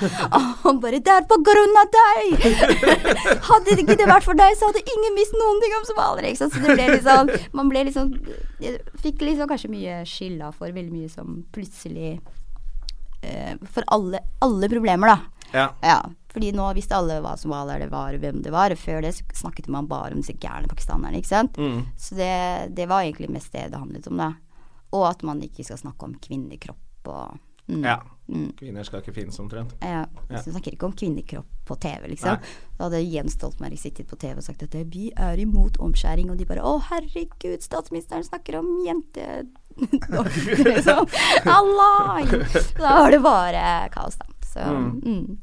S3: han bare 'Det er på grunn av deg!' [laughs] hadde det ikke det vært for deg, så hadde ingen visst noen ting om somaliere. ikke sant? Så det ble liksom Man ble liksom jeg Fikk liksom kanskje mye skylda for veldig mye som plutselig eh, For alle, alle problemer, da.
S1: Ja.
S3: Ja, fordi nå visste alle hva som var, det var, og hvem det var. og Før det snakket man bare om disse gærne pakistanerne, ikke sant. Så det, det var egentlig mest det det handlet om, da. Og at man ikke skal snakke om kvinnekropp og mm,
S1: ja. Kvinner skal ikke finnes omtrent.
S3: ja, liksom, snakker ikke om kvinnekropp på TV, liksom. Da hadde Jens Stoltenberg sittet på TV og sagt at eh, vi er imot omskjæring, og de bare å herregud, statsministeren snakker om jente... [laughs] liksom. Allah! Da var det bare kaos, da. Så mm.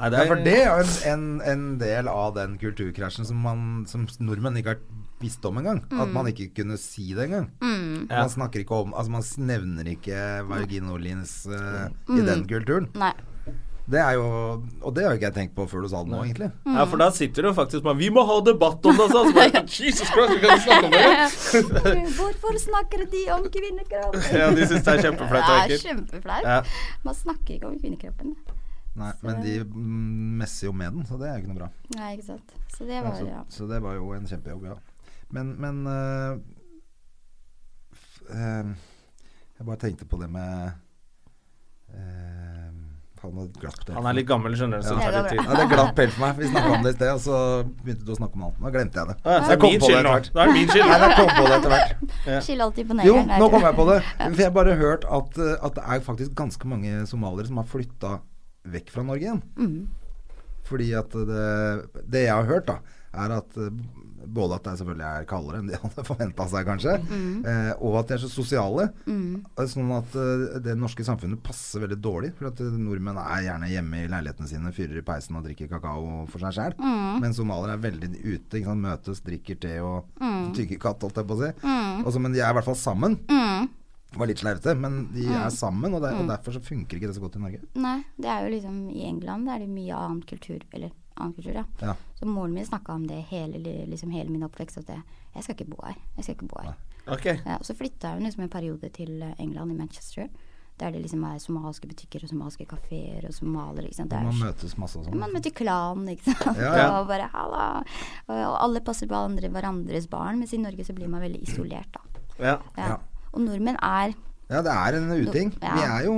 S1: Nei, det
S2: Ja,
S1: er-
S2: for det er jo en, en, en del av den kulturkrasjen som, man, som nordmenn ikke har visste om engang. At
S3: Mm.
S2: man ikke kunne si det engang. Man snakker ikke om Altså, man s- nevner ikke vaginolins eh,
S3: Mm.
S2: i den kulturen.
S3: Nei.
S2: Det er jo Og det har jo ikke jeg tenkt på før du sa det nå, egentlig.
S1: Ja,
S3: Mm.
S1: for da sitter du faktisk med Vi må ha debatt om det! altså. Så. Så
S3: [laughs]
S1: bare, Jesus Christ, vi kan ikke snakke om det!
S3: Hvorfor snakker de om kvinnekropp?
S1: Ja, de syns det er kjempeflaut og
S3: Det er
S1: ekkelt.
S3: kjempeflaut.
S1: Ja.
S3: Man snakker ikke om kvinnekroppen.
S2: Nei, men de mm, messer jo med den, så det er jo ikke noe bra.
S3: Nei, ikke sant. Så det var
S2: så,
S3: ja.
S2: så det var jo en kjempejobb, ja. Men, men eh, f, eh, Jeg bare tenkte på det med eh, Faen, det glapp det.
S1: Han er litt gammel, skjønner du, så det tar litt tid.
S2: ja, det glapp helt for meg. Vi snakka om det i sted, og så begynte du å snakke om alt. Nå glemte jeg det.
S1: Ja, så er
S2: Jeg
S1: det
S2: kom
S1: min
S2: på det
S1: skyld
S2: etter
S1: nå.
S2: hvert.
S1: Da er det min skyld.
S2: Nei, jeg kom på det etter hvert.
S3: Skylder alltid på
S2: Jo,
S3: negeren.
S2: nå kom jeg på
S3: [laughs]
S2: det. For jeg bare har hørt at, eh, at det er faktisk ganske mange somaliere som har flytta vekk fra Norge igjen. Fordi at det, det jeg har hørt, da, er at eh, både at det selvfølgelig er kaldere enn de [laughs] hadde forventa seg, kanskje, eh, og at de er så sosiale. Eh, Sånn at eh, det norske samfunnet passer veldig dårlig. For at eh, nordmenn er gjerne hjemme i leilighetene sine, fyrer i peisen og drikker kakao for seg sjæl. Men somaliere er veldig ute. Ikke sant? Møtes, drikker te og tygger katt, holdt jeg på å si. Og så- men de er i hvert fall sammen.
S3: Mm.
S2: Det var litt sleivete, men de er sammen, og, der, og derfor så funker ikke det så godt i Norge.
S3: Nei, det er jo liksom I England er det mye annen kultur, eller annen kultur, ja.
S2: Ja.
S3: Så moren min snakka om det hele, li- liksom hele min oppvekst, at jeg, jeg skal ikke bo her. Jeg skal ikke bo her.
S1: Ok.
S3: Ja, og så flytta hun liksom en periode til eh, England, i Manchester, der det liksom er somaliske butikker og somaliske kafeer og somaliere. ikke sant? Det er
S2: Man
S3: jo
S2: møtes masse og sånn.
S3: Man møter klanen, ikke sant.
S2: Ja, ja.
S3: [laughs] Og bare halla. Og, og alle passer på andre, hverandres barn, mens i Norge så blir man veldig isolert, da.
S1: Ja.
S3: Ja.
S2: Ja.
S3: Og nordmenn er [laughs]
S2: Ja, det er en uting.
S3: Ja.
S2: Vi er jo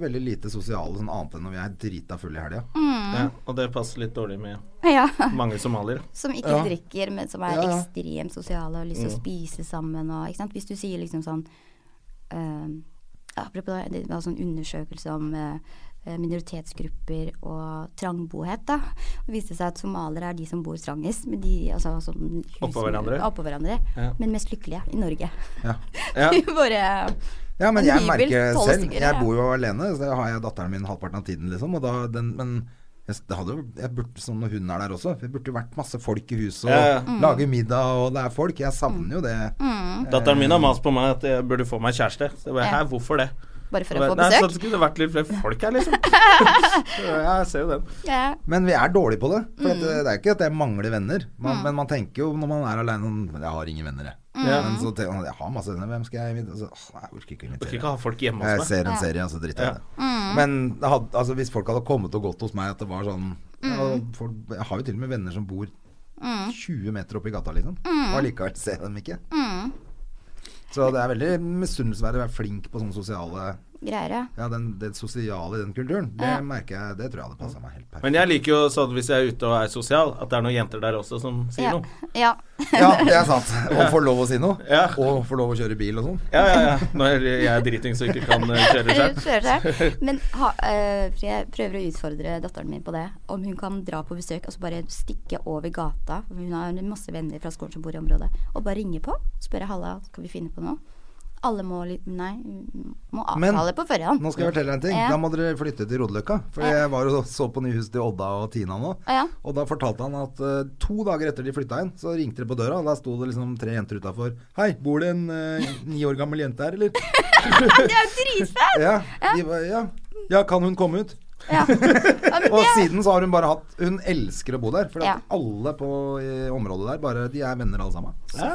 S2: veldig lite sosiale sånn annet enn når vi er drita fulle i helga.
S3: Mm.
S1: ja. Og det passer litt dårlig med
S3: ja,
S1: mange somaliere.
S3: som ikke drikker, men som
S2: Ja,
S3: er
S2: Mm. ja.
S3: ekstremt sosiale og har lyst til å spise sammen og ikke sant. Hvis du sier liksom sånn eh, Apropos det, det var sånn undersøkelse om eh, eh, minoritetsgrupper og trangbohet, da. Det viste seg at somaliere er de som bor strangest, men de altså sånn hus-
S1: Oppå hverandre?
S3: Oppå hverandre
S1: Ja.
S3: Men mest lykkelige i Norge. [laughs]
S2: Ja.
S1: Ja.
S3: Bare
S2: Ja, men
S3: En
S2: jeg
S3: hybel,
S2: merker
S3: tolv
S2: selv
S3: stykker,
S2: Jeg
S3: ja.
S2: bor jo alene, så da har jeg datteren min halvparten av tiden, liksom. Og da, den, men jeg, det hadde jo jeg burde, Som når hun er der også. Det burde jo vært masse folk i huset, og
S1: Ja, ja.
S3: Mm.
S2: lage middag, og det er folk. Jeg savner jo det.
S1: Datteren min har mast på meg at jeg burde få meg kjæreste. Så jeg bare,
S3: Ja.
S1: Hæ, hvorfor det?
S3: Bare for
S1: Jeg bare,
S3: å få
S1: Nei, så
S3: besøk?
S1: det skulle vært litt flere folk her, liksom. Så Jeg ser jo den.
S3: Ja.
S2: Men vi er dårlige på det. For
S3: Mm.
S2: at eh, det, det er ikke at jeg mangler venner. Man, Men man tenker jo når man er aleine sånn "Men Jeg har ingen venner, jeg.
S3: Mm.
S2: Men så tenker man jeg har masse venner, hvem skal jeg invitere? Så, «Åh, nei, jeg orker ikke å
S1: Du kan
S2: invitere.
S1: ikke ha folk hjemme
S2: Jeg
S1: hos meg.
S2: ser en serie, og så driter jeg i det. Men det hadde, altså, hvis folk hadde kommet og gått hos meg at det var sånn ja, folk, Jeg har jo til og med venner som bor 20 meter oppi gata, liksom. Og allikevel ser jeg dem ikke.
S3: mm,
S2: Så det er veldig misunnelsesverdig å være flink på sånne sosiale
S3: Greier, ja.
S2: Ja, den, det sosiale i den kulturen. Det merker jeg Det tror jeg hadde passa meg helt perfekt.
S1: Men jeg liker jo sånn hvis jeg er ute og er sosial, at det er noen jenter der også som sier
S3: Ja.
S1: noe.
S3: ja.
S2: Ja, det er sant. Og får lov å si noe.
S1: Ja.
S2: Og får lov å kjøre bil og sånn.
S1: Ja, ja, ja. Når jeg er driting så ikke kan eh, kjøre
S3: Eller
S1: selv.
S3: kjører seg. Men ha, eh, for jeg prøver å utfordre datteren min på det. Om hun kan dra på besøk og så bare stikke over gata. for Hun har masse venner fra skolen som bor i området. Og bare ringe på. Spørre 'halla, skal vi finne på noe?' Alle må li- Nei, må
S2: Men-
S3: avtale på forhånd.
S2: Nå skal jeg fortelle deg en ting.
S3: Ja.
S2: Da må dere flytte til Rodeløkka. For jeg var og så på Nyhus til Odda og Tina nå.
S3: Ja.
S2: Og da fortalte han at eh, to dager etter de flytta inn, så ringte det på døra, og da sto det liksom tre jenter utafor. 'Hei, bor det en eh, ni år gammel jente
S3: [laughs]
S2: her, eller?'
S3: [laughs] Det er jo
S2: [laughs]
S3: dritfett!
S2: Ja. De var, ja. ja, kan hun komme ut?
S3: Ja. Ja, men
S2: Og
S3: det,
S2: siden så har hun bare hatt Hun elsker å bo der. For
S3: Ja.
S2: alle på i området der, bare de er venner alle sammen.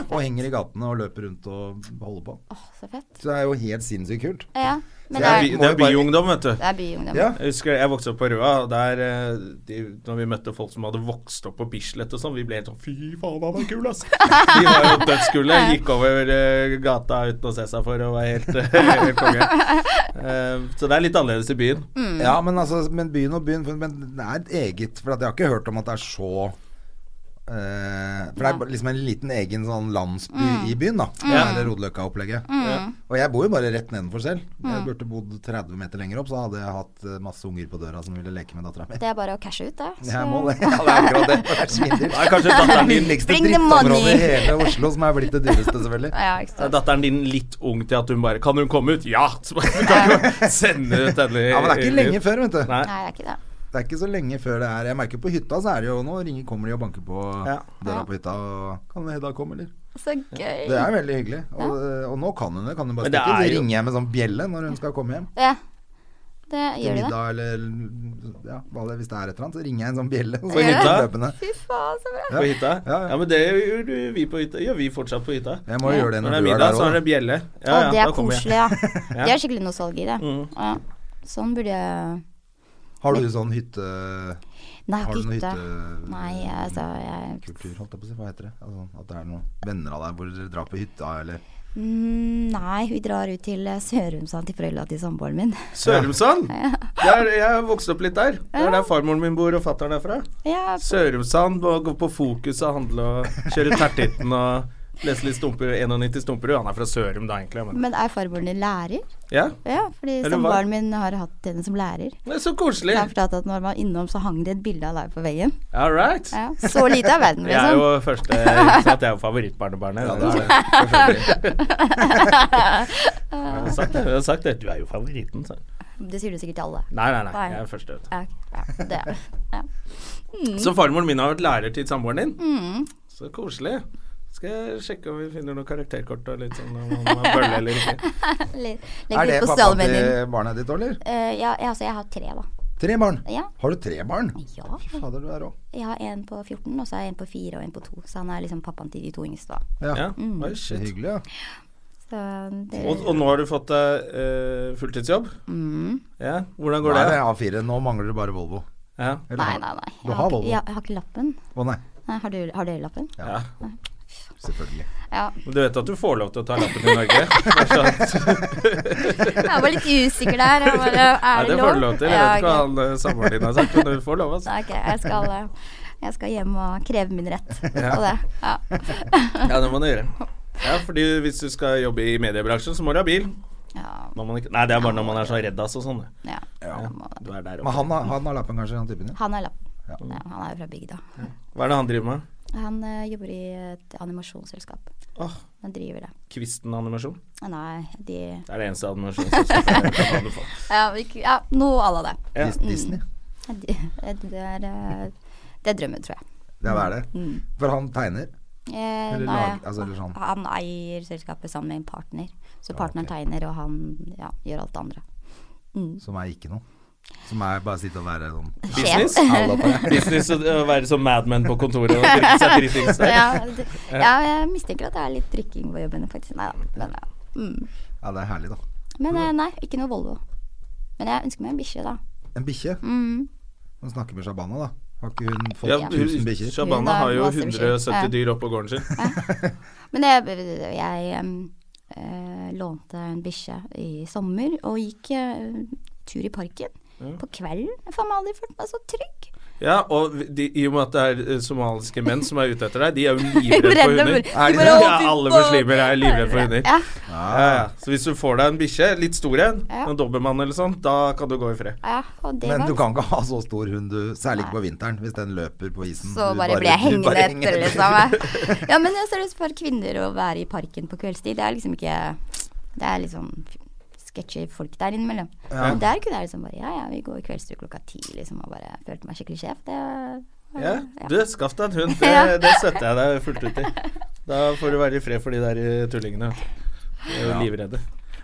S2: Og henger i gatene og løper rundt og holder på.
S3: Åh, så fett.
S2: Så det er jo helt sinnssykt kult.
S3: Ja. Men
S1: Det
S3: det
S1: er,
S3: er,
S1: by- det er byungdom, vet du.
S3: det er byungdom.
S2: Ja.
S1: Jeg husker jeg vokste opp på Røa, og der eh, de, når vi møtte folk som hadde vokst opp på Bislett og sånn, vi ble helt sånn Fy faen, han er kul, ass! De var jo dødskule. Gikk over eh, gata uten å se seg for og var helt, helt [laughs] konge. Eh, så det er litt annerledes i byen.
S3: Mm.
S2: Ja, men, altså, men byen og byen for- Men det er et eget For at jeg har ikke hørt om at det er så eh, for det er bare liksom en liten egen sånn landsby
S3: Mm.
S2: i byen, da.
S1: Ja.
S2: Det er Rodeløkka-opplegget. Og jeg bor jo bare rett nedenfor selv.
S3: Mm.
S2: Jeg burde bodd 30 meter lenger opp, så hadde jeg hatt eh, masse unger på døra som ville leke med dattera mi.
S3: Det er bare å cashe ut, det.
S2: [laughs] Jeg må det. Ja, det er akkurat det. Det er svindel.
S1: Det er kanskje datteren din,
S2: billigste
S3: Bring the
S2: drittområdet
S3: money.
S2: i hele [laughs] Oslo, som er blitt det dyreste, selvfølgelig.
S3: Ja, ikke
S1: er
S3: sant.
S1: datteren din litt ung til at hun bare [laughs] Kan hun komme ut? Ja! Så bare, du kan jo sende ut denne
S2: Ja, Men det er ikke lenge før, vet du.
S1: Nei.
S3: Nei, det er ikke det.
S2: Det er ikke så lenge før det er Jeg merker på hytta så er det jo nå ringer, kommer de og banker på
S1: Ja.
S2: døra
S3: Ja.
S2: på hytta. Og, 'Kan Hedda komme, eller?'
S3: Så gøy.
S2: Det er veldig hyggelig. Og, og nå kan hun det. Kan hun bare
S1: Men det
S2: stikke? Så
S1: er jo-
S2: ringer jeg med sånn bjelle når hun skal komme hjem.
S3: Ja. Det
S2: Til
S3: gjør de det.
S2: middag eller ja, hva det, hvis det er et eller annet, så ringer jeg en sånn bjelle. Og så
S1: På
S2: kommer
S1: hytta?
S2: hun løpende.
S3: Fy faen, så bra.
S1: På hytta?
S2: Ja, ja.
S1: Ja, men det gjør du- vi på hytta. Gjør vi fortsatt på hytta.
S2: Jeg må jo gjøre det
S1: Når
S2: når du
S1: det er
S2: er
S1: middag,
S2: der
S1: så er
S2: òg.
S1: det bjelle.
S3: Å, det er
S1: da kommer jeg. [laughs] Ja.
S3: koselig, ja.
S1: Mm.
S3: Det er skikkelig nostalgi, det. Ja. Sånn burde jeg
S2: Har du sånn hytte...
S3: Nei,
S2: Har du
S3: ikke
S2: noe eh,
S3: hytte.
S2: hytte...
S3: Nei, altså jeg
S2: Kultur, holdt jeg på å si. Hva heter det? Altså, at det er noen venner av deg hvor dere drar på hytta, eller
S3: Mm, Nei, vi drar ut til eh, Sørumsand til foreldra til samboeren min. [laughs]
S1: Sørumsand? Der, jeg har vokst opp litt der. Det er der farmoren min bor og fatter'n er fra.
S3: Ja,
S1: Sørumsand, må gå på Fokus og handle og kjøre tertitten og lese litt stumper, 91 stumperud. Han er fra Sørum da, egentlig. Men.
S3: men er farmoren din lærer?
S1: Ja,
S3: Ja, fordi
S1: Eller hva?
S3: samboeren min har hatt henne som lærer.
S1: det er så
S3: Så
S1: koselig.
S3: han fortalte at når man var innom, så hang det et bilde av deg på veggen.
S1: All right.
S3: Ja. Så lite er verden,
S1: [laughs] Jeg er jo
S3: liksom.
S1: første ikke sant, Jeg er jo favorittbarnebarnet.
S2: Ja,
S1: det
S2: det
S1: er
S2: er
S1: det. Selvfølgelig.
S3: [laughs]
S1: Jeg har sagt det. Jeg har sagt det. Du er jo favoritten, sa jeg.
S3: Det sier du sikkert til alle.
S1: Nei, nei, nei.
S3: Nei.
S1: Jeg er første. vet du.
S3: Ja, ja, det er det. Ja.
S1: Så farmoren min har vært lærer til samboeren din?
S3: Mm, [laughs]
S1: Så koselig. Skal jeg sjekke om vi finner noen karakterkort og litt sånn om han har bølle eller ikke.
S2: Er det
S3: Legg litt på
S2: pappaen
S3: sosiale medier.
S2: til barnet ditt, eller?
S3: Eh, ja, jeg- altså, jeg har tre, da.
S2: Tre barn?
S3: Ja.
S2: Har du tre barn?
S3: Ja.
S2: Fy fader, du er rå.
S3: Jeg har en på 14, og så har jeg en på 4 og en på 2. Så han er liksom pappaen til de to yngste, da.
S2: Ja.
S1: Ja. Oi,
S2: Det er
S1: shit.
S2: hyggelig, ja.
S3: Så det,
S1: Og, og nå har du fått deg eh, fulltidsjobb?
S3: Mm.
S1: Ja. Hvordan går
S2: Nei,
S1: det?
S2: det er A4. Nå mangler du bare Volvo.
S1: Ja.
S2: Eller
S3: Nei,
S2: har-
S3: nei, nei.
S2: Du
S3: Jeg
S2: har
S3: har,
S2: Volvo?
S3: ikke, jeg, jeg har ikke lappen.
S2: Å nei.
S3: Nei, har, du, har dere lappen?
S2: Ja. Selvfølgelig.
S3: Ja.
S1: Men Du vet at du får lov til å ta lappen i
S2: [laughs]
S1: Norge? Bare sånn.
S3: Jeg var litt usikker der. Jeg bare,
S1: Nei,
S3: er det
S1: det
S3: lov?
S1: får du lov til. Jeg vet ikke hva
S3: ok.
S1: han eh, samboeren din har sagt, men du får lov, altså.
S3: Nei, ok, jeg skal, eh, jeg skal hjem og kreve min
S1: [laughs]
S3: rett på det. Ja.
S1: Ja, det må du gjøre. Ja, fordi hvis du skal jobbe i mediebransjen, så må du ha bil.
S3: Ja,
S1: Når man ikke, nei, det er bare når man er sånn redd ass og sånn. det.
S3: ja. jeg må det.
S1: Du er der
S2: Men
S1: oppe.
S2: han, har- han har lappen, kanskje, han typen din?
S3: Han er lappen. Ja, han er jo fra bygda.
S1: Hva er det han driver med?
S3: Han eh, jobber i et animasjonsselskap.
S1: Åh,
S3: Han driver det.
S1: Kvisten animasjon.
S3: Nei, de
S1: Det er det eneste animasjonsselskapet jeg kan [laughs] anbefale.
S3: Ja, vi, ja noe à la det.
S1: Ja.
S2: Dis- Disney?
S3: Mm. Det det er, eh, det er drømmen, tror jeg.
S2: Det er det.
S3: Mm.
S2: For han tegner?
S3: Eh,
S2: Eller
S3: nei,
S2: lag- altså, eller sånn.
S3: Han eier selskapet sammen med en partner. Så partneren tegner, og han ja, gjør alt det
S2: [laughs]
S3: andre.
S2: Som er ikke noe. Som er bare sitte og være sånn
S1: Business?
S2: Halla på deg.
S1: Business å å være som madman på kontoret og drikke seg dritings der.
S3: Ja, det, ja, jeg mistenker at det er litt drikking på jobben, faktisk. Nei da. Men, ja. mm.
S2: Ja, det er herlig, da.
S3: men eh, nei, ikke noe Volvo. Men jeg ønsker meg en bikkje, da.
S2: En bikkje.
S3: Mm.
S2: Hun snakker med Shabana, da. Har ikke hun fått
S1: Ja,
S2: 1000 bikkjer?
S1: Shabana har jo
S3: Hun har masse
S1: 170
S3: bikkjer.
S1: dyr oppå gården sin.
S3: Men jeg, jeg em, eh, lånte en bikkje i sommer og gikk eh, tur i parken. På kvelden. Jeg har faen meg aldri følt meg så trygg.
S1: Ja, og de, i og med at det er eh, somaliske menn som er ute etter deg, de
S3: [laughs]
S1: er jo livredde for
S3: Redde
S1: hunder.
S3: for-
S2: Er de
S3: bare,
S2: det?
S3: å,
S1: Ja,
S3: fy
S1: alle
S3: faen.
S1: muslimer er livredde for hunder.
S3: Ja,
S1: Ja, ja. Så hvis du får deg en bikkje, litt stor en,
S3: Ja.
S1: en dobermann eller sånn, da kan du gå i fred.
S3: ja, og det
S2: Men
S3: var
S2: du kan ikke ha så stor hund, du. Særlig ikke på vinteren, hvis den løper på isen.
S3: så
S2: Mm, Du
S3: bare ble jeg
S2: du
S3: hengende
S2: bare
S3: etter,
S2: henger
S3: liksom. [laughs] Ja, men jeg ser det for kvinner å være i parken på kveldstid. Det er liksom ikke Det er litt sånn sketchy folk der innimellom. Men der kunne jeg liksom bare Ja, ja, vi går i kveldstur klokka ti, liksom, og bare følte meg skikkelig sjef. Det var-
S1: Ja. Du, skaff deg en hund.
S3: Ja.
S1: Det, det støtter jeg deg fullt ut i. Da får du være i fred for de der eh, tullingene. vet du. De er jo livredde.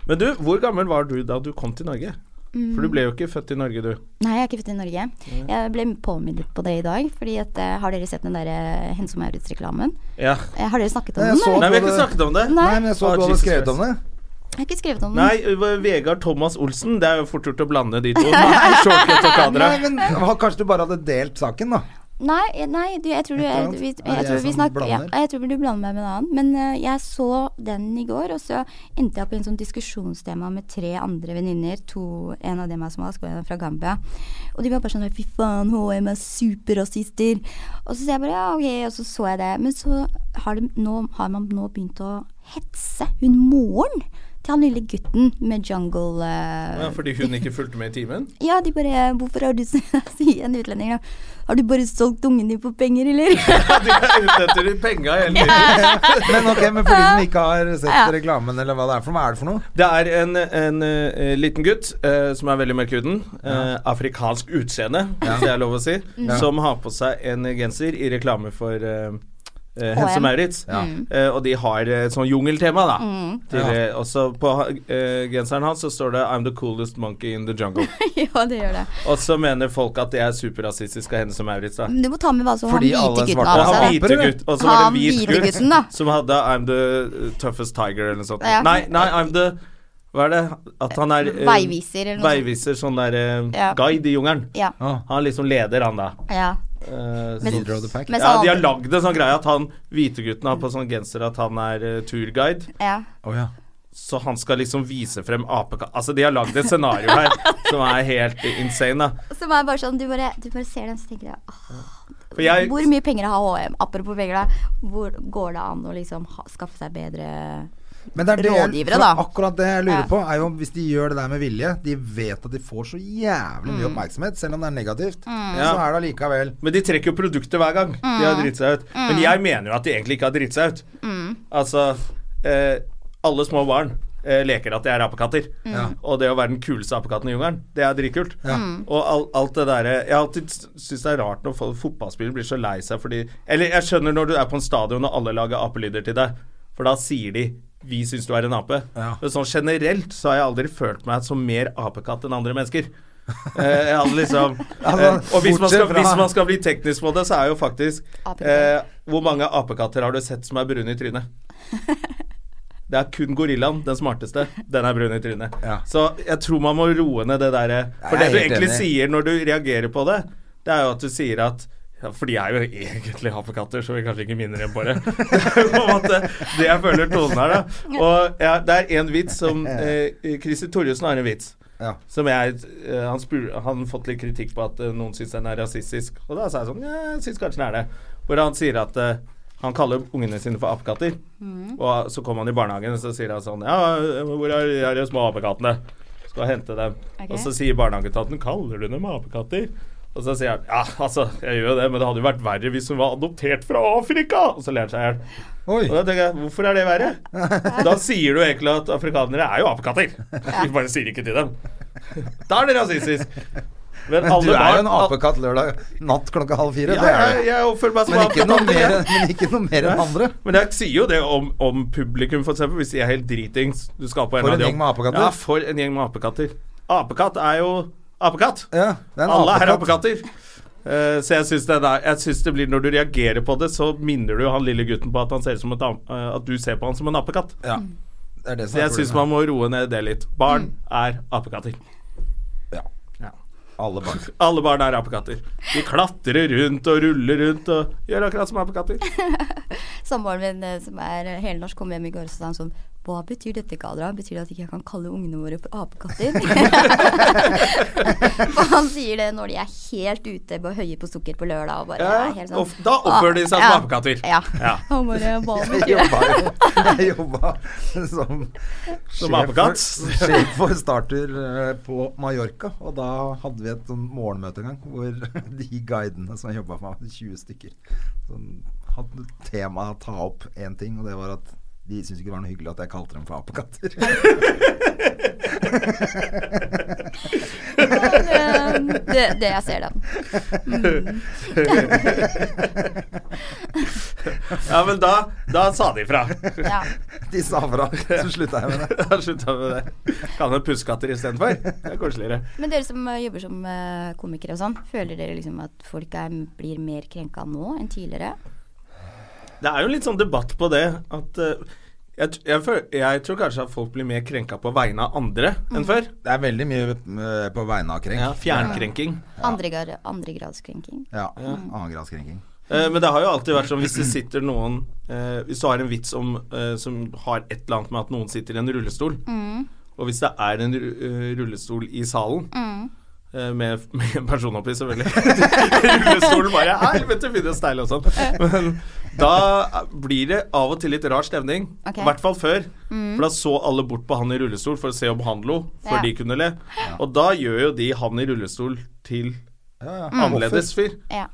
S1: Men du, hvor gammel var du da du kom til Norge? For du ble jo ikke født i Norge, du.
S3: Nei, jeg er ikke født i Norge. Jeg ble påminnet på det i dag. Fordi at, eh, Har dere sett den der eh, Hennes og Maurits-reklamen?
S1: Ja.
S3: Eh, Har dere snakket om
S2: Nei, jeg
S3: den?
S2: så-
S3: eller?
S1: Nei, vi har ikke snakket om det.
S2: Nei, men jeg så
S1: Ah,
S2: at du hadde
S1: Jesus
S2: skrevet
S1: Christ.
S2: om det.
S3: Jeg har ikke skrevet om den.
S1: Nei, v- Vegard Thomas Olsen. Det er jo fort gjort å blande de to. Shortcut og Kadra.
S2: Nei, men ha- Kanskje du bare hadde delt saken, da.
S3: Nei, eh, nei du, jeg tror du
S2: Ikke
S3: jeg,
S2: sant?
S3: vi,
S2: Er det
S3: jeg,
S2: jeg
S3: tror vi
S2: som
S3: snakker, ja,
S2: blander?
S3: jeg tror du blander meg med en annen. Men eh, jeg så den i går, og så endte jeg opp i en sånn diskusjonstema med tre andre venninner. To- En av dem er somalisk, og en er fra Gambia. Og de var bare sånn Fy faen, HM er superrasister. Og så sier jeg bare ja, ok, og så så jeg det. Men så har, de, nå, har man nå begynt å hetse hun moren til han lille gutten med jungle eh,
S1: Ja, fordi hun ikke fulgte med i timen?
S3: Ja, de bare Hvorfor har du s- [laughs] Sier en utlending, da. Har du bare solgt ungen din for penger, eller? [laughs]
S1: De er ute etter de penga hele tiden.
S2: Men ok, men for de som ikke har
S3: Ja.
S2: sett reklamen, eller hva det er for noe, hva er det for noe?
S1: Det er en, en eh, liten gutt eh, som er veldig mørk i huden. eh, afrikansk utseende, hvis det er lov å si. Som har på seg en genser i reklame for eh, eh, Hense
S3: H&M.
S1: Maurits. Eh, og de har eh, sånn jungeltema, da.
S3: Mm.
S1: Til, eh, også på eh, genseren hans så står det 'I'm the coolest monkey in the
S3: [laughs]
S1: jungle'.
S3: ja, det gjør det.
S1: og så mener folk at det er superrasistisk av Hense Maurits, da.
S3: Men Du må ta med hva som Mm. han
S2: Fordi
S3: hvite
S2: alle
S3: gutten
S2: svarte
S3: har
S1: Og
S3: på
S1: han
S3: seg. da.
S1: hvite gutt, og så var
S3: Han
S1: det en hvit
S3: hvite
S1: gutt
S3: gutten, da.
S1: som hadde 'I'm the toughest tiger' eller noe sånt.
S3: Ja.
S1: Nei, nei, I'm the Hva er det? At han er eh,
S3: Veiviser eller noe sånt.
S1: Veiviser, sånn der eh,
S3: Ja.
S1: guide i jungelen.
S3: Ja.
S1: Han er liksom leder, han da.
S3: ja.
S1: Eh,
S3: Men-
S1: så-
S2: Leader of the pack.
S3: Mens
S1: ja, de har
S3: han,
S1: lagd en sånn greie at han hvitegutten har på sånn genser at han er eh, turguide,
S3: ja.
S2: Å ja.
S1: så han skal liksom vise frem apekatt Altså, de har lagd et scenario her [laughs] som er helt insane, da.
S3: Som er bare sånn Du bare, du bare ser den, så tenker jeg «Åh,
S1: For jeg
S3: Hvor mye penger har HM? Apropos penger, da. Hvor går det an å liksom ha, skaffe seg bedre
S2: Men det er det,
S3: Rådgivere,
S2: for
S3: da.
S2: Akkurat det jeg lurer
S3: Ja.
S2: på, er jo om hvis de gjør det der med vilje De vet at de får så jævlig
S3: Mm.
S2: mye oppmerksomhet, selv om det er negativt. Så
S1: Ja.
S2: er det allikevel
S1: Men de trekker jo produkter hver gang. De har dritt seg ut. Men jeg mener jo at de egentlig ikke har dritt seg ut. Altså eh, Alle små barn eh, leker at de er apekatter. Og det å være den kuleste apekatten i jungelen, det er dritkult. Og al alt det derre Jeg har alltid s- syntes det er rart når folk- fotballspillere blir så lei seg fordi Eller jeg skjønner når du er på en stadion og alle lager apelyder til deg, for da sier de 'vi syns du er en ape'. Men sånn generelt så har jeg aldri følt meg som mer apekatt enn andre mennesker. Eh, jeg hadde liksom eh, Og hvis man, skal,
S2: bortsett fra-
S1: hvis man skal bli teknisk på det, så er jo faktisk
S3: Apekatter.
S1: eh, Hvor mange apekatter har du sett som er brune i trynet? Det er kun gorillaen, den smarteste. Den er brun i trynet.
S2: Ja.
S1: Så jeg tror man må roe ned det derre For
S2: Jeg er
S1: det du
S2: helt
S1: egentlig
S2: enig.
S1: sier når du reagerer på det, det er jo at du sier at ja, For de er jo egentlig apekatter, så vi kanskje ikke minner dem på det. [laughs] Det er jo på en måte det jeg føler tonen er, da. Og ja, det er én vits som eh, Christer Torjussen har en vits.
S2: Ja.
S1: Som jeg, eh, han, spur, han fått litt kritikk på at eh, noen syns den er rasistisk. Og da sa jeg sånn Ja, jeg syns kanskje den er det. Hvor han sier at eh, han kaller ungene sine for apekatter. Og så kommer han i barnehagen, og så sier han sånn Ja, hvor er de her små apekattene? Skal hente dem.
S3: Ok.
S1: Og så sier barnehageetaten Kaller du dem apekatter? Og så sier han ja, altså, jeg gjør jo det, men det hadde jo vært verre hvis hun var adoptert fra Afrika. Og så ler han seg i hjel.
S2: Oi.
S1: Og da tenker jeg, hvorfor er det verre? Da sier du egentlig at afrikanere er jo apekatter. Vi bare sier ikke til dem. Da er det rasistisk. Men
S2: Du er jo
S1: alle barn
S2: en apekatt lørdag natt klokka halv fire.
S1: Ja,
S2: det er
S1: jeg,
S2: du.
S1: jeg oppfører meg som
S2: Men ikke noe
S1: apekatt.
S2: mer,
S1: jeg.
S2: men ikke noe mer enn andre.
S1: Men jeg sier jo det om, om publikum, for eksempel, hvis de er helt dritings. Du skal på en
S2: For
S1: av
S2: en
S1: de-
S2: gjeng med apekatter.
S1: Ja, for en gjeng med apekatter. Apekatt er jo apekatt.
S2: Ja, det er en
S1: Alle
S2: apekatt.
S1: er apekatter. Eh, så jeg syns det, er- jeg synes det blir Når du reagerer på det, så minner du han lille gutten på at, han ser ut som et, am- eh, at du ser på han som en apekatt.
S2: Ja. Det er det
S1: Så
S2: som er
S1: jeg syns man
S2: problemet.
S1: må roe ned det litt. Barn
S2: Mm.
S1: er apekatter.
S2: Alle barn.
S1: Alle barn er apekatter. De klatrer rundt og ruller rundt og gjør akkurat som apekatter.
S3: Samboeren min eh, som er eh, helnorsk, kom hjem i går og så sa han sånn Hva betyr dette, Kadra? Betyr det at ikke jeg kan kalle ungene våre for apekatter? [laughs] For han sier det når de er helt ute på høye på sukker på lørdag og bare
S1: Ja,
S3: er helt sånn
S1: og f- da oppfører de seg som
S3: «Ah,
S1: apekatter».
S3: Ja.
S1: Ja.
S3: [laughs] Han bare Hva betyr
S2: Jeg jobba jo jeg jobba som
S1: Som
S2: sjef for-
S1: apekatt.
S2: Sjef for starter eh, på Mallorca, og da hadde vi et sånn morgenmøte en gang hvor [laughs] de guidene som jobba for meg, 20 stykker, sånn, hadde tema å ta opp én ting, og det var at de syntes ikke det var noe hyggelig at jeg kalte dem for apekatter. [laughs]
S3: det? Det, det jeg ser den.
S1: Ja, men da, da sa de ifra.
S3: Ja.
S2: De sa fra, [laughs] så slutta jeg med det.
S1: [laughs] Da slutta vi med det. Kan hende puskatter istedenfor. Det er koseligere.
S3: Men dere som eh, jobber som eh, komikere og sånn, føler dere liksom at folk er, blir mer krenka nå enn tidligere?
S1: Det er jo litt sånn debatt på det at eh, jeg, t- jeg, føl- jeg tror kanskje at folk blir mer krenka på vegne av andre
S2: Mm.
S1: enn før.
S2: Det er veldig mye eh, på vegne av krenk.
S1: Ja, Fjernkrenking.
S3: Andre, Andregradskrenking?
S2: Ja, Annengradskrenking.
S1: Eh, men det har jo alltid vært sånn hvis det sitter noen eh, Hvis du har en vits om, eh, som har et eller annet med at noen sitter i en rullestol,
S3: Mm.
S1: og hvis det er en ru- eh, rullestol i salen
S3: Mm.
S1: eh, Med, [laughs]
S3: [laughs]
S1: med en person oppi, selvfølgelig. Rullestolen bare Helvete, finnes deilig og sånn. Men Da blir det av og til litt rar stemning.
S3: Ok. Mm.
S1: I hvert fall før. For da så alle bort på han i rullestol for å se om han lo, før
S3: Ja.
S1: de kunne le. Og da gjør jo de han i rullestol til
S2: Ja, ja.
S3: Mm.
S1: annerledes fyr.
S3: Ja.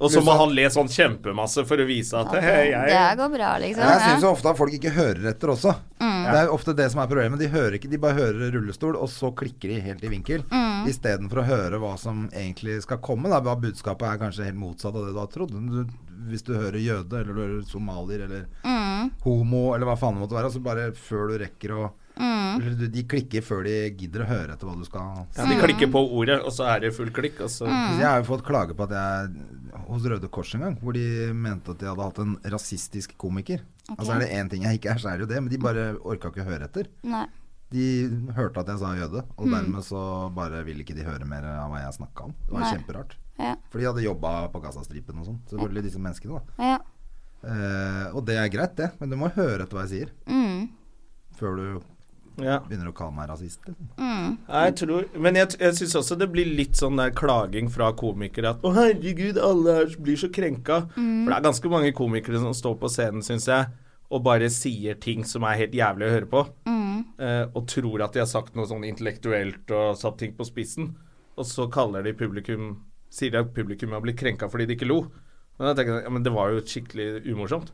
S1: Og så må han le sånn kjempemasse for å vise at hei,
S3: Det
S1: Eh, jeg
S3: her går bra, liksom.
S2: Jeg syns
S3: ja. Mm.
S2: ofte at folk ikke hører etter også. Det er jo ofte det som er problemet. De hører ikke, de bare hører rullestol, og så klikker de helt i vinkel.
S3: Mm.
S2: Istedenfor å høre hva som egentlig skal komme. Da. Hva budskapet er kanskje helt motsatt av det du har trodd. Du, hvis du hører jøde, eller du hører somalier, eller
S3: Mm.
S2: homo, eller hva faen det måtte være. Altså bare før du rekker å
S3: Mm.
S2: eller du- De klikker før de gidder å høre etter hva du skal
S1: ja, De klikker på ordet, og så er det full klikk. Og så
S2: Jeg har jo fått klage på at jeg hos Røde Kors en gang, hvor de mente at jeg hadde hatt en rasistisk komiker. Altså er det én ting jeg ikke er, så er det jo det, men de bare orka ikke høre etter.
S3: Nei.
S2: De hørte at jeg sa jøde, og dermed så bare ville ikke de høre mer av hva jeg snakka om. Det var kjemperart.
S3: Ja.
S2: For de hadde jobba på Gazastripen og sånn, selvfølgelig disse menneskene, da.
S3: Ja.
S2: Eh, og det er greit, det, men du må høre etter hva jeg sier
S3: Mm.
S2: før du
S1: ja.
S2: begynner å kalle meg rasist. liksom.
S1: Nei, Jeg tror, men jeg, jeg syns også det blir litt sånn der klaging fra komikere at 'Å, herregud, alle her blir så krenka'. For det er ganske mange komikere som står på scenen, syns jeg, og bare sier ting som er helt jævlig å høre på. Eh, og tror at de har sagt noe sånn intellektuelt og satt ting på spissen. Og så kaller de publikum Sier de at publikum har blitt krenka fordi de ikke lo. Men jeg tenker, jeg, ja, men det var jo skikkelig umorsomt,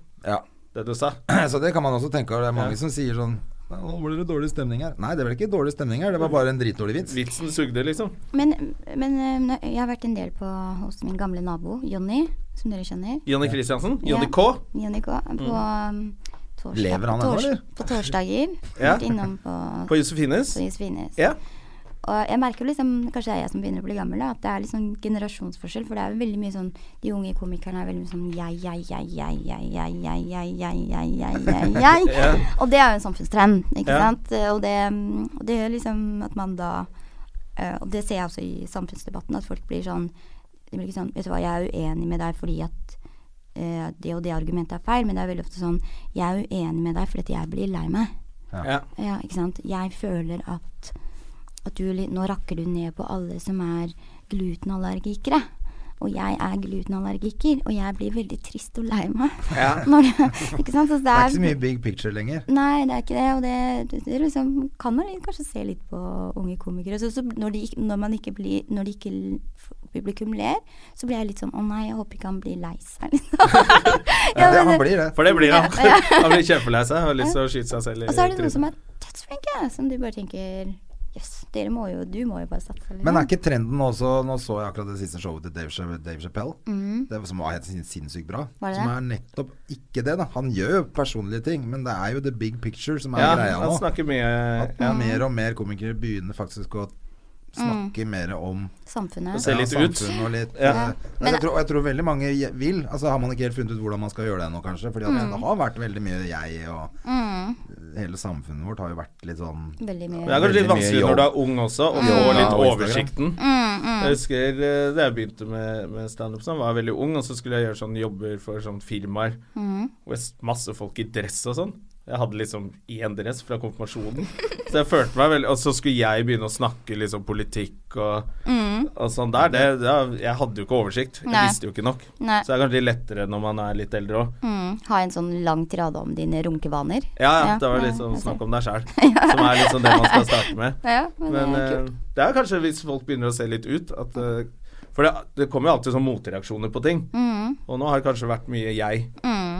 S1: det du sa.
S2: [clears throat] Så det kan man også tenke over. Det er mange som sier sånn «Nei, Nå ble det dårlig stemning her. Nei, det er vel ikke dårlig stemning her, det var bare en dritdårlig vits.
S1: Vitsen sugde, liksom.
S3: Men, men eh, når- jeg har vært en del på, hos min gamle nabo, Jonny, som dere kjenner.
S1: Jonny Christiansen. Jonny
S3: Ja.
S1: K.
S3: Jonny K. På um, torsdag,
S2: Lever han
S3: på
S2: ennå,
S3: tors-
S2: eller?
S3: På torsdager.
S1: Ja.
S3: Vært innom på,
S1: På Josefines.
S3: på Josefines.
S1: Ja.
S3: Og jeg merker jo liksom, kanskje det er jeg som begynner å bli gammel, da, at det er litt sånn generasjonsforskjell. For det er jo veldig mye sånn De unge komikerne er veldig mye sånn jeg, jeg, jeg, jeg, jeg, jeg, jeg, jeg, jeg, jeg, jeg, jeg, jeg. Og det er jo en samfunnstrend, ikke
S1: Ja.
S3: sant. Og det, og det gjør liksom at man da eh, Og det ser jeg også i samfunnsdebatten, at folk blir sånn De blir ikke sånn Vet du hva, jeg er uenig med deg fordi at eh, det og det argumentet er feil, men det er veldig ofte sånn Jeg er uenig med deg fordi at jeg blir lei meg.
S1: Ja.
S3: Ja, ikke sant. Jeg føler at, at du li- Nå rakker du ned på alle som er glutenallergikere. Og jeg er glutenallergiker, og jeg blir veldig trist og lei meg.
S1: Ja.
S3: [laughs] Når det, ikke sant? Så det
S2: Det er
S3: er,
S2: ikke så mye big picture lenger.
S3: Nei, det er ikke det. Og det, det, det liksom, kan man litt- kanskje se litt på unge komikere. Så, så når, de, ikke- når, man ikke blir, når de ikke l- f- publikum ler, så blir jeg litt sånn Å nei, jeg håper ikke han blir lei seg, liksom. [laughs] Ja,
S2: Ja,
S3: men
S2: han
S3: det-
S2: blir det.
S1: For det blir han. [laughs] Han blir kjempelei seg og har lyst til å skyte seg selv i
S3: Og så er det noen
S1: trynet.
S3: som er dødsflinke, som du bare tenker Jøss, dere må jo Du må jo bare satse. Liksom.
S2: Men er ikke trenden også Nå så jeg akkurat det siste showet til Dave, Chapp- Dave Chappelle. Det var- som var helt sin- sinnssykt bra.
S3: Mm. Var det
S2: Som
S3: det?
S2: er nettopp ikke det, da. Han gjør jo personlige ting, men det er jo the big picture som er
S1: Ja,
S2: greia
S1: han
S2: nå.
S1: snakker mye
S2: At
S1: ja.
S2: mer og mer komikere begynner faktisk å
S3: Mm.
S2: snakke mer om
S3: Samfunnet.
S1: ser litt ut.
S2: samfunnet og litt
S1: Ja.
S2: eh,
S3: Men-
S2: jeg, tror, jeg tror veldig mange je- vil. Altså Har man ikke helt funnet ut hvordan man skal gjøre det ennå, kanskje. Fordi at
S3: Mm.
S2: det har vært veldig mye jeg og Hele samfunnet vårt har jo vært litt sånn
S3: Veldig
S1: Det
S3: mye.
S1: er kanskje
S2: Veldig
S1: litt
S2: mye
S1: vanskelig når du er ung også,
S3: Mm.
S1: å få
S2: Ja,
S1: litt
S2: og Instagram.
S1: oversikten. Jeg husker eh, da jeg begynte med, med standup, sånn, var jeg veldig ung, og så skulle jeg gjøre sånn jobber for sånn firmaer.
S3: Mm.
S1: Og jeg s- masse folk i dress og sånn. Jeg hadde liksom én dress fra konfirmasjonen. Så jeg følte meg veldig Og så skulle jeg begynne å snakke liksom politikk og, og sånn der. Det, det, jeg hadde jo ikke oversikt. Jeg
S3: Mm. Nei.
S1: visste jo ikke nok.
S3: Nei.
S1: Så det er kanskje litt lettere når man er litt eldre òg.
S3: Mm. Ha en sånn lang tirade om dine runkevaner.
S1: Ja, ja,
S3: Ja,
S1: det var
S3: ja,
S1: liksom
S3: jeg ser.
S1: snakk om deg
S3: [laughs]
S1: sjæl, som er liksom det man skal starte med.
S3: Ja, men,
S1: Men
S3: det er kult.
S1: eh, det er kanskje hvis folk begynner å se litt ut at eh, For det, det kommer jo alltid sånn motreaksjoner på ting.
S3: Mm.
S1: Og nå har det kanskje vært mye jeg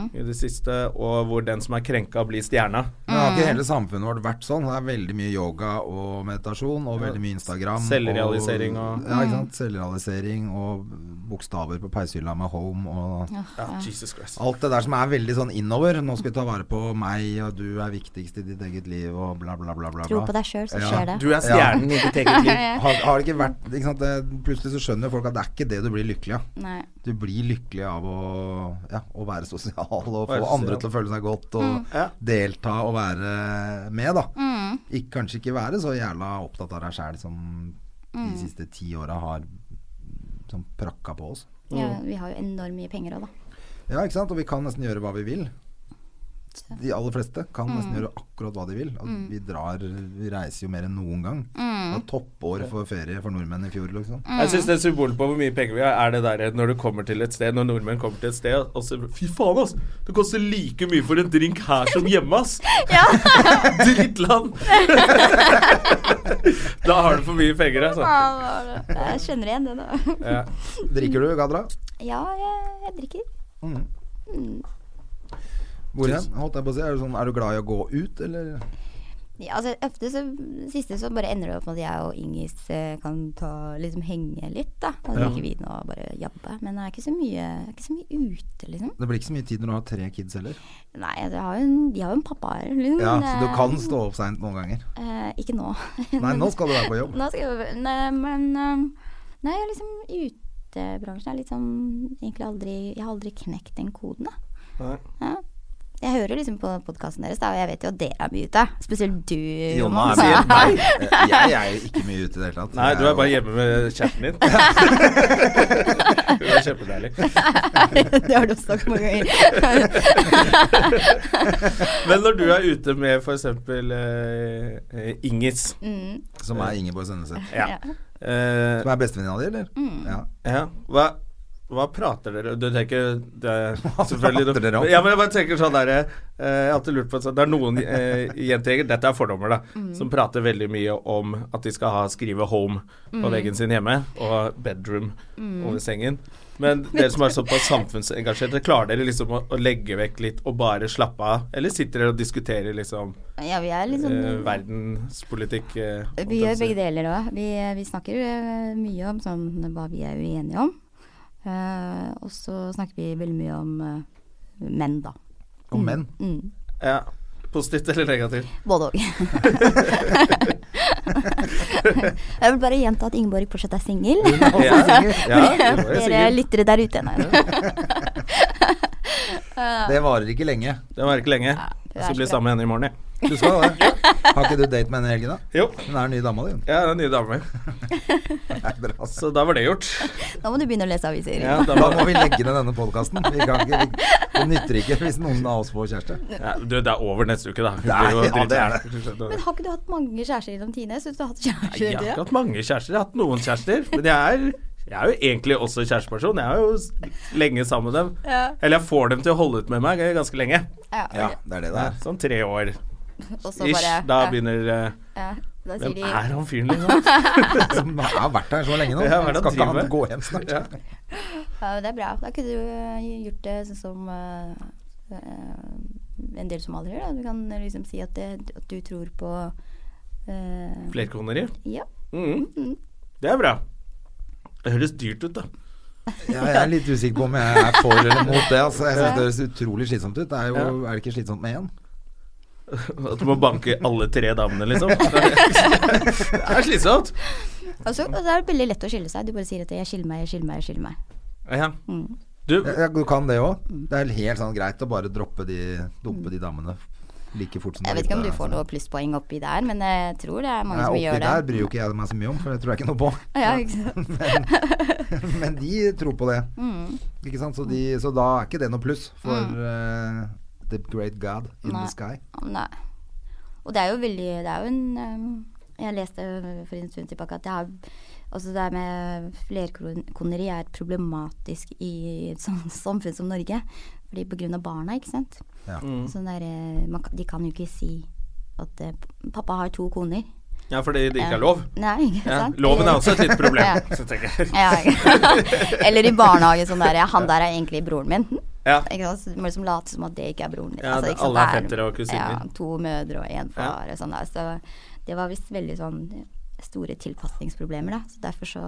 S1: i det siste, og hvor den som er krenka, blir stjerna.
S2: Men har
S3: Mm.
S2: ikke hele samfunnet vårt vært sånn? Det er veldig mye yoga og meditasjon, og veldig mye Instagram.
S1: Selvrealisering og-
S2: Ja, ikke sant. Selvrealisering og bokstaver på peishylla med home og
S1: Ja, Jesus Christ.
S2: Alt det der som er veldig sånn innover. Nå skal vi ta vare på meg, og du er viktigst i ditt eget liv, og bla, bla, bla, bla.
S3: Tro
S2: bla.
S3: på deg sjøl, så
S2: Ja.
S3: skjer det.
S1: Du er stjernen i ditt
S3: [laughs]
S1: eget liv.
S2: Har, har det ikke vært ikke sant? Det, Plutselig så skjønner folk at det er ikke det du blir lykkelig av.
S3: Nei.
S2: Du blir lykkelig av å, ja, å være sosial og få
S1: Være sosial.
S2: andre til å føle seg godt og
S3: Mm.
S1: Ja.
S2: delta og være med, da. Ik- kanskje ikke være så jævla opptatt av deg sjæl som de siste ti åra har som prakka på oss.
S1: Mm.
S3: Ja, vi har jo enormt mye penger òg, da.
S2: Ja, ikke sant. Og vi kan nesten gjøre hva vi vil. De aller fleste kan nesten gjøre akkurat hva de vil. Og Vi drar, vi reiser jo mer enn noen gang. Det var toppår for ferie for nordmenn i fjor, liksom.
S1: Jeg syns det
S3: Mm.
S1: er symbolet på hvor mye penger vi har, er det der når du kommer til et sted, når nordmenn kommer til et sted, og så Fy faen, ass! Det koster like mye for en drink her som hjemme,
S3: [laughs]
S1: ass! [laughs] Drittland! [laughs] da har du for mye penger, altså.
S3: Jeg skjønner igjen det, da. [laughs]
S1: Ja.
S2: Drikker du, Gadra?
S3: Ja, jeg, jeg drikker.
S2: Hvor hen? Holdt jeg på å si. Er du, sånn, er du glad i å gå ut, eller?
S3: Ja, altså, ofte så siste så bare ender det opp med at jeg og Ingis eh, kan ta, liksom henge litt, da. Og
S1: Ja.
S3: drikke vin og bare jabbe. Men det er ikke så mye, jeg er ikke så mye ute, liksom.
S2: Det blir ikke så mye tid når du har tre kids heller.
S3: Nei, altså, jeg har jo en, de har jo en pappa her. Liksom.
S2: Ja, Så du
S3: Eh,
S2: kan stå opp seint noen ganger.
S3: eh, ikke nå. [laughs]
S2: Nei, nå skal du være på jobb.
S3: Nå skal jeg Nei, men um, Nei, jeg er liksom utebransjen er litt sånn Egentlig aldri Jeg har aldri knekt den koden, da. Ja. Jeg hører jo liksom på podkasten deres, da, og jeg vet jo at dere er mye ute. Spesielt du,
S2: Jonna er
S3: Jonas. [laughs]
S2: mye Nei, [laughs] jeg er jo ikke mye ute i det hele tatt.
S1: Nei,
S2: Jeg
S1: du er bare
S2: jo-
S1: hjemme med chatten din. [laughs] det er kjempedeilig.
S3: det har du også sagt mange ganger.
S1: Men når du er ute med f.eks. Uh, Ingis
S3: Mm,
S2: Som er Ingeborg Sønneseth.
S1: ja. Eh,
S2: Som er bestevenninna di, eller? Ja.
S1: ja. Hva, hva prater dere Du tenker det,
S2: Hva
S1: [laughs] selvfølgelig
S2: prater dere om?
S1: Ja, men jeg bare tenker sånn der, eh, Jeg har alltid lurt på sånn, Det er noen uh, jentejegere, dette er fordommer, da,
S3: Mm.
S1: som prater veldig mye om at de skal ha skrive 'home'
S3: Mm.
S1: på veggen sin hjemme, og 'bedroom' over sengen. Men dere som er såpass samfunnsengasjerte, klarer dere liksom å, å legge vekk litt og bare slappe av? Eller sitter dere og diskuterer liksom
S3: Ja, vi er litt
S1: eh,
S3: sånn
S1: verdenspolitikk eh,
S3: Vi gjør begge deler òg. Vi, vi snakker eh, mye om sånn, hva vi er uenige om. Eh, og så snakker vi veldig mye om eh, menn, da.
S2: Og [laughs] menn.
S3: Mm.
S1: Ja. Positivt eller
S3: [laughs]
S1: negativt? [laughs]
S3: Både òg. jeg vil bare gjenta at Ingeborg fortsatt er singel.
S1: Ja, ja, det var jeg
S3: [laughs] Dere
S1: sikkert.
S3: lyttere der ute. Nei,
S2: Det varer ikke lenge.
S1: Det var ikke lenge.
S3: er
S1: Jeg skal
S3: så
S1: bli
S3: bra.
S1: sammen med henne i morgen, jeg.
S2: Du skal det. Har ikke du date med henne i helgen, da?
S1: Jo.
S2: Hun er den nye dama di. hun.
S1: Jeg er den nye dama mi.
S2: Det er bra, ass.
S1: Så da var det gjort.
S3: Nå må du begynne å lese aviser.
S1: Ja, da
S2: Da
S1: var,
S2: må vi legge ned denne podkasten. Det nytter ikke hvis noen av oss får kjæreste.
S1: ja, du, det er over neste uke, da. Hun
S2: Nei,
S1: blir jo
S2: ja, det er
S1: dritlei.
S3: Men har ikke du hatt mange kjærester gjennom tidene? Syns du har hatt
S1: Nei, Jeg
S3: kjærester?
S1: har
S3: hele
S1: ikke
S3: tiden?
S1: hatt mange kjærester. Jeg har hatt noen kjærester. Men jeg er, jeg er jo egentlig også kjæresteperson. Jeg er jo s- lenge sammen med dem.
S3: Ja.
S1: Eller jeg får dem til å holde ut med meg ganske lenge.
S2: Ja, det er det det er.
S1: Sånn tre år
S3: Og så
S1: ish.
S3: bare-
S1: Da
S3: ja,
S1: begynner eh,
S3: ja. Da sier
S1: Hvem
S3: de
S1: er han fyren,
S3: [laughs]
S1: liksom?
S2: Som har vært her så lenge nå.
S1: Ja, hva er det
S2: Skal
S1: han
S2: ikke
S1: driver
S2: han
S1: med?
S2: gå hjem snart?
S1: Ja.
S3: Ja, men det er bra. Da kunne du eh, gjort det sånn som eh, eh, en del somaliere gjør. da. Du kan liksom si at, det, at du tror på eh,
S1: Flerkoneri.
S3: Ja. mm.
S1: Mhm. Det er bra. Det høres dyrt ut, da.
S2: Ja, jeg er litt usikker på om jeg er for eller mot det. Altså. Jeg synes det høres utrolig slitsomt ut. Det er, jo, er det ikke slitsomt med én?
S1: At du må banke alle tre damene, liksom. [laughs] Det er slitsomt.
S3: Og så og så er det veldig lett å skille seg. Du bare sier at 'jeg skiller meg, jeg skiller meg', jeg skiller meg.
S1: Ja. Du,
S2: Ja, du kan det òg. Det er helt sånn greit å bare droppe de, dumpe de damene like fort som
S3: Jeg vet ikke om du får noe plusspoeng oppi der, men jeg tror det er mange
S2: altså. Nei,
S3: som
S2: oppi
S3: gjør
S2: der
S3: det.
S2: bryr jo ikke jeg meg så mye om, for det tror jeg ikke noe på.
S3: [laughs] Ja, ikke sant?
S2: [laughs] Men de tror på det.
S3: Mm.
S2: Ikke sant? Så, de, så da er ikke det noe pluss for eh, the great god in
S3: Nei.
S2: the sky.
S3: Nei. Og det er jo veldig Det er jo en eh, Jeg leste for en stund tilbake at det er Altså det her med flerkoneri er problematisk i et sånt samfunn som Norge. Fordi på grunn av barna, ikke sant.
S2: Ja.
S1: Mm.
S3: Sånn der, eh, man, kan- de kan jo ikke si at eh, 'pappa har to koner'.
S1: ja, fordi det ikke er lov.
S3: Nei, ikke
S1: Ja.
S3: sant?
S1: Loven er
S3: [laughs]
S1: også et lite problem.
S3: Ja.
S1: Så tenker jeg.
S3: Ja, [laughs] Eller i barnehage sånn der ja, 'han der er egentlig broren min'.
S1: Ja.
S3: Ikke sant? Så Du må liksom late som at det ikke er broren din. Altså,
S1: Ja, det-
S3: ikke sant?
S1: alle er
S3: Det
S1: fettere og kusiner.
S3: Ja, to mødre og én far og sånn der. Så det var visst veldig sånn store tilpasningsproblemer, da. Så derfor så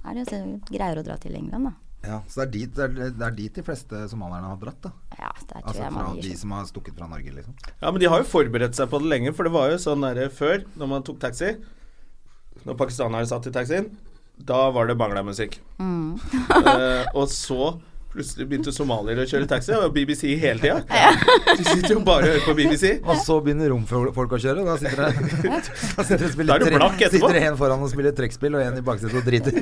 S3: er det jo så greier å dra til England, da.
S2: Ja, så det er, dit, det, er, det er dit de fleste somalierne har dratt, da.
S3: Ja, der tror
S2: Altså
S3: jeg
S2: fra
S3: man
S2: de
S3: gir seg.
S2: som har stukket fra Norge, liksom.
S1: ja, men de har jo forberedt seg på det lenge, for det var jo sånn der før, når man tok taxi Når pakistanere satt i taxien, da var det banglamusikk.
S3: Mm.
S2: [laughs]
S1: Eh, og så plutselig begynte somaliere å kjøre taxi, og BBC hele tida. De sitter jo bare og hører på BBC.
S2: [laughs] Og så begynner romfolk å kjøre. Da
S3: [laughs]
S2: sitter det, [laughs] da sitter det, og spiller
S1: Da er du
S2: tre-
S1: blakk etterpå.
S3: [laughs]
S2: sitter det en foran og spiller trekkspill, og en i baksetet og driter.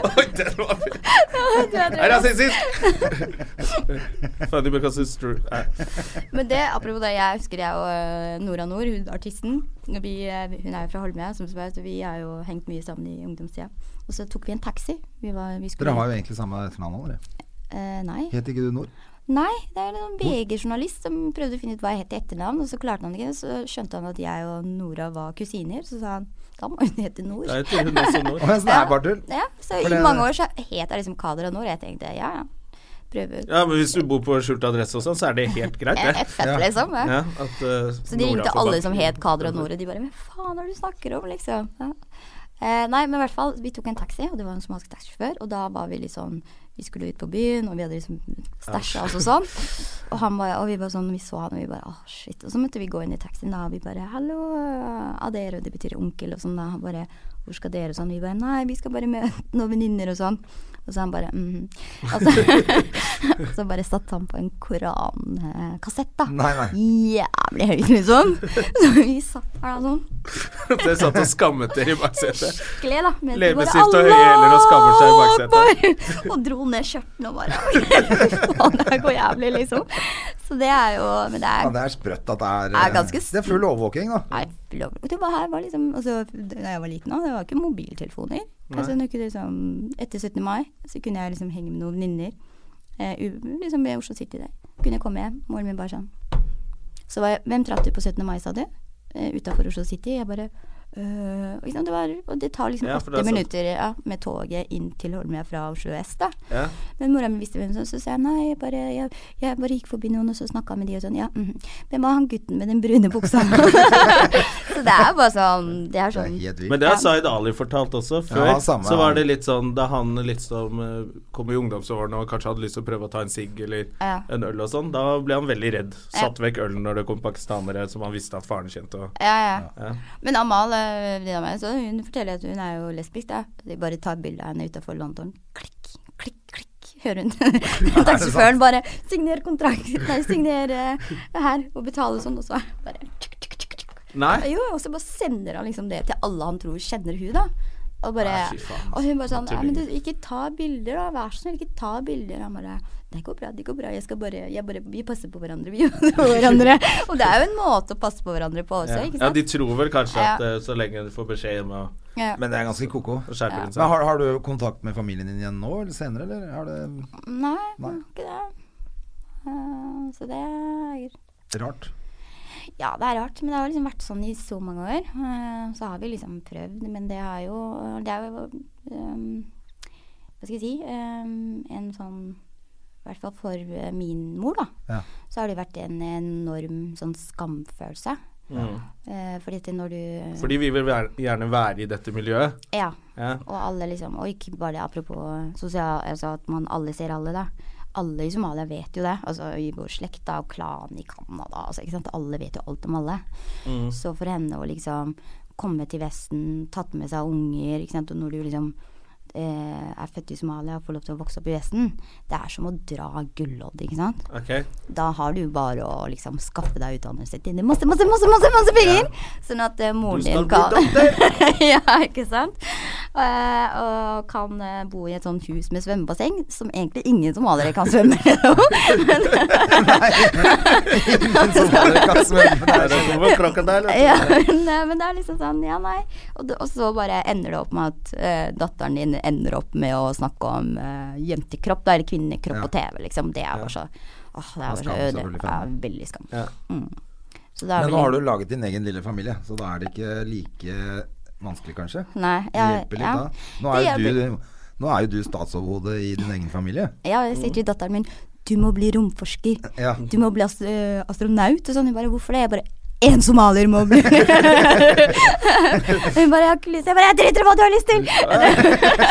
S1: Oi, den var fin. Er det
S3: [laughs]
S1: rasistisk? Funny because it's true. Nei.
S3: Men det, apropos det, jeg husker jeg og eh, Nora Nord, hun artisten og vi, eh, Hun er jo fra Holmlia, som du vet, og vi har jo hengt mye sammen i ungdomstida. Og så tok vi en taxi. Vi var, vi skulle,
S2: Dere har jo egentlig samme etternavn, dere.
S3: Eh, nei.
S2: Het ikke du Nord?
S3: nei, det er en VG-journalist som prøvde å finne ut hva jeg het i etternavn, og så klarte han ikke. Så skjønte han at jeg og Nora var kusiner, så sa han da må hun hete Nord.
S1: Da heter hun også Nord.
S2: Å, men sånn er det bare tull.
S3: Ja, så
S2: For
S3: i
S2: det-
S3: mange år så het jeg liksom Kader og Nord. Jeg tenkte ja, ja. Prøve ut.
S1: Ja, men hvis du bor på skjult adresse og sånn, så er det helt greit, det.
S3: Fett, liksom. Ja.
S1: Ja, at, eh,
S3: Så de
S1: Nora
S3: ringte
S1: får
S3: alle
S1: bank.
S3: som
S1: [laughs]
S3: het Kader og Nore. De bare 'Hva faen er det du snakker om?' liksom. Ja. Eh, nei, men i hvert fall, vi tok en taxi, og det var en somalisk taxisjåfør. Og da var vi litt sånn Vi skulle ut på byen, og vi hadde liksom stæsja oss og sånn. Og, han var, og vi bare sånn, vi så han, og vi bare 'Å, shit'. Og så måtte vi gå inn i taxien, da, og vi bare 'Hallo, Adero', det betyr onkel, og sånn. da, Han bare 'Hvor skal dere?' og sånn. Vi bare 'Nei, vi skal bare med noen venninner', og sånn. Og så han bare mm. Og så, [laughs] så bare satte han på en korankassett, da
S2: Nei, nei.
S3: jævlig høyt, liksom. [laughs] Så vi satt her da sånn,
S1: Dere satt og skammet dere i baksetet.
S3: skikkelig, da. mens vi
S1: Leppestift og
S3: bare,
S1: høye hæler og skammer seg i
S3: «Allah
S1: baksetet».
S3: Akbar! Og dro ned skjørtene og bare [laughs] «Fy Faen, det her går jævlig, liksom. Så det er jo Men det
S2: Ja,
S3: er
S2: det er sprøtt at det er
S3: Det er
S2: eh,
S3: ganske
S2: Det er full overvåking, da.
S3: Nei, lov. Det var her var liksom altså, Da jeg var liten, da, det var ikke mobiltelefoner. Altså, når ikke det liksom, etter 17. mai så kunne jeg liksom henge med noen venninner eh, u- liksom ved Oslo City. der. Kunne jeg komme hjem. Moren min bare sånn Så var jeg, hvem traff du på 17. mai, sa du? Eh, Utafor Oslo City? Jeg bare øh, ikke sant, det var, og det tar liksom
S1: Ja, for det
S3: åtte
S1: er sant.
S3: minutter ja, med toget inn til Holmlia fra Oslo S. da
S1: Ja.
S3: men mora mi visste hvem som så sa jeg nei, jeg bare, jeg, jeg bare gikk forbi noen, og så snakka med de og sånn. Ja, mhm. hvem var han gutten med den brune buksa? så det er bare sånn Det
S2: Det
S3: er
S2: er
S3: sånn
S2: helt
S1: Men
S2: vilt.
S1: det har Zaid Ali fortalt også. Før
S2: Ja, samme
S1: så var
S2: her.
S1: det litt sånn da han liksom eh, kom i ungdomsårene og kanskje hadde lyst til å prøve å ta en sigg eller
S3: Ja.
S1: en øl og sånn, da ble han veldig redd. Satt vekk ølen når det kom pakistanere som han visste at faren kjente. Og,
S3: ja, ja.
S1: ja.
S3: Men Amal, eh, venninna mi, så hun forteller at hun er jo lesbisk. da. De bare tar bilde av henne utafor London. Klikk, klikk, klikk. Hører hun [laughs] taxisjåføren bare 'signer kontrakt', nei, 'signer eh, her', og betale sånn, og så er det bare tsk, tsk, tsk, tsk.
S1: Nei.
S3: Jo, og så bare sender han liksom det til alle han tror kjenner hun, da. Og, bare,
S1: Nei, fy faen,
S3: og hun bare sånn
S1: altså,
S3: ja, men du, 'Ikke ta bilder, da. Vær så snill, ikke ta bilder.' Han bare 'Det går bra, det går bra. Jeg skal bare, jeg bare Vi passer på hverandre, vi passer på
S1: [laughs]
S3: hverandre.' Og det er jo en måte å passe på hverandre på også,
S1: Ja.
S3: ikke
S1: ja,
S3: sant?
S1: de tror vel kanskje at
S3: Ja.
S1: eh, så lenge du får beskjed hjemme og-
S3: Ja.
S2: Men det er ganske ko-ko.
S1: og skjerper inn
S2: Men
S1: seg.
S2: har, har du kontakt med familien din igjen nå eller senere, eller? Er det
S3: Nei,
S2: Nei.
S3: ikke det. Eh, så det er
S2: rart?
S3: [laughs] Ja, det er rart, men det har liksom vært sånn i så mange år. Eh, Så har vi liksom prøvd, men det er jo Det er jo ehm, Hva skal jeg si ehm, En sånn I hvert fall for eh, min mor, da.
S2: Ja.
S3: Så har det vært en enorm sånn skamfølelse.
S1: Mm.
S3: Eh, fordi at når du
S1: Fordi vi vil være, gjerne være i dette miljøet.
S3: Ja.
S1: Ja.
S3: Og alle liksom Og ikke bare det, apropos sosial, altså at man alle ser alle, da. Alle i Somalia vet jo det. Altså i vår slekt da, og klanen i Canada. Altså, ikke sant? Alle vet jo alt om alle. Så for henne å liksom komme til Vesten, tatt med seg unger, ikke sant? og når du liksom eh, er født i Somalia og får lov til å vokse opp i Vesten, det er som å dra gullodd, ikke sant
S1: Ok.
S3: da har du bare å liksom skaffe deg utdannelse til masse, masse, masse, masse, masse penger! Sånn at eh, moren
S1: Du skal
S3: din
S1: bli
S3: kan
S1: doktor!
S3: [laughs] Ja, ikke sant? Eh, og kan eh, bo i et sånt hus med svømmebasseng, som egentlig ingen somaliere kan svømme i. Men,
S2: Ingen som har det kan svømme
S1: Er
S3: [laughs]
S2: der.
S1: det noe crocodile?
S3: ja, men, eh, men det er liksom sånn, ja, nei. Og, det- og så bare ender det opp med at eh, datteren din ender opp med å snakke om eh, jentekropp, da, eller kvinnekropp på TV, liksom. Det er bare så Åh, det er bare så
S2: skam,
S3: øde.
S2: selvfølgelig, for
S3: Ja,
S2: henne.
S3: veldig skam.
S1: Ja.
S3: Mm. Så det er
S2: Men
S3: vel
S2: nå har
S3: en-
S2: du laget din egen lille familie, så da er det ikke like vanskelig, kanskje?
S3: Nei,
S2: Det
S3: jeg-
S2: hjelper litt
S3: ja.
S2: da. Nå
S3: Det
S2: er, jo
S3: hjelper.
S2: du, nå er jo du statsoverhode i din egen familie.
S3: Ja, jeg sier til datteren min Du må bli romforsker.
S2: Ja.
S3: Du må bli ast øh, astronaut. Og sånn. Hun bare Hvorfor det? Jeg bare Én somalier må
S1: [laughs]
S3: bli Hun bare Jeg har ikke lyst. Jeg bare Jeg driter i hva du har lyst til!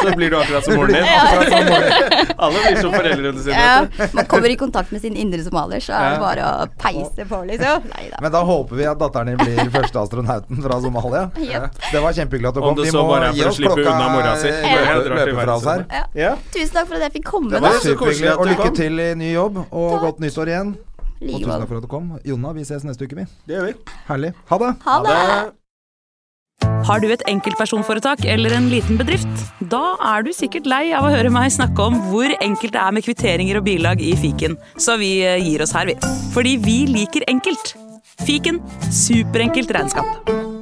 S1: Så blir du akkurat som moren din. Alle blir som foreldrene sine.
S3: Ja,
S1: vet du.
S3: man kommer i kontakt med sin indre somalier, så er det bare å peise på, liksom. Nei da.
S2: Men da håper vi at datteren din blir første astronauten fra Somalia. Det var kjempehyggelig at du
S1: Om
S2: kom.
S1: det
S2: Vi
S1: så
S2: må
S1: bare er
S2: gi
S1: for å
S2: oss
S1: slippe
S2: klokka
S1: unna mora
S2: [laughs]
S1: si.
S2: eh,
S1: Ja.
S2: løpe-
S1: Løpe
S2: løpe
S1: fra
S2: fra oss her.
S1: verden.
S3: Ja.
S1: Ja.
S3: Tusen takk for at jeg fikk komme,
S1: Det var
S3: da.
S1: jo så koselig
S2: Superhyggelig.
S1: at
S2: Og
S1: du
S2: lykke
S1: kom.
S2: til i ny jobb, og
S3: Takk.
S2: godt nyttår igjen. Og
S3: Like
S2: tusen takk
S3: godt.
S2: for at du kom. Jonna, vi ses neste uke, vi.
S1: Det gjør vi.
S2: Herlig. Ha det.
S3: Ha det!
S4: Har du et enkeltpersonforetak eller en liten bedrift? Da er du sikkert lei av å høre meg snakke om hvor enkelt det er med kvitteringer og bilag i fiken, så vi eh, gir oss her, vi. Fordi vi liker enkelt. Fiken superenkelt regnskap.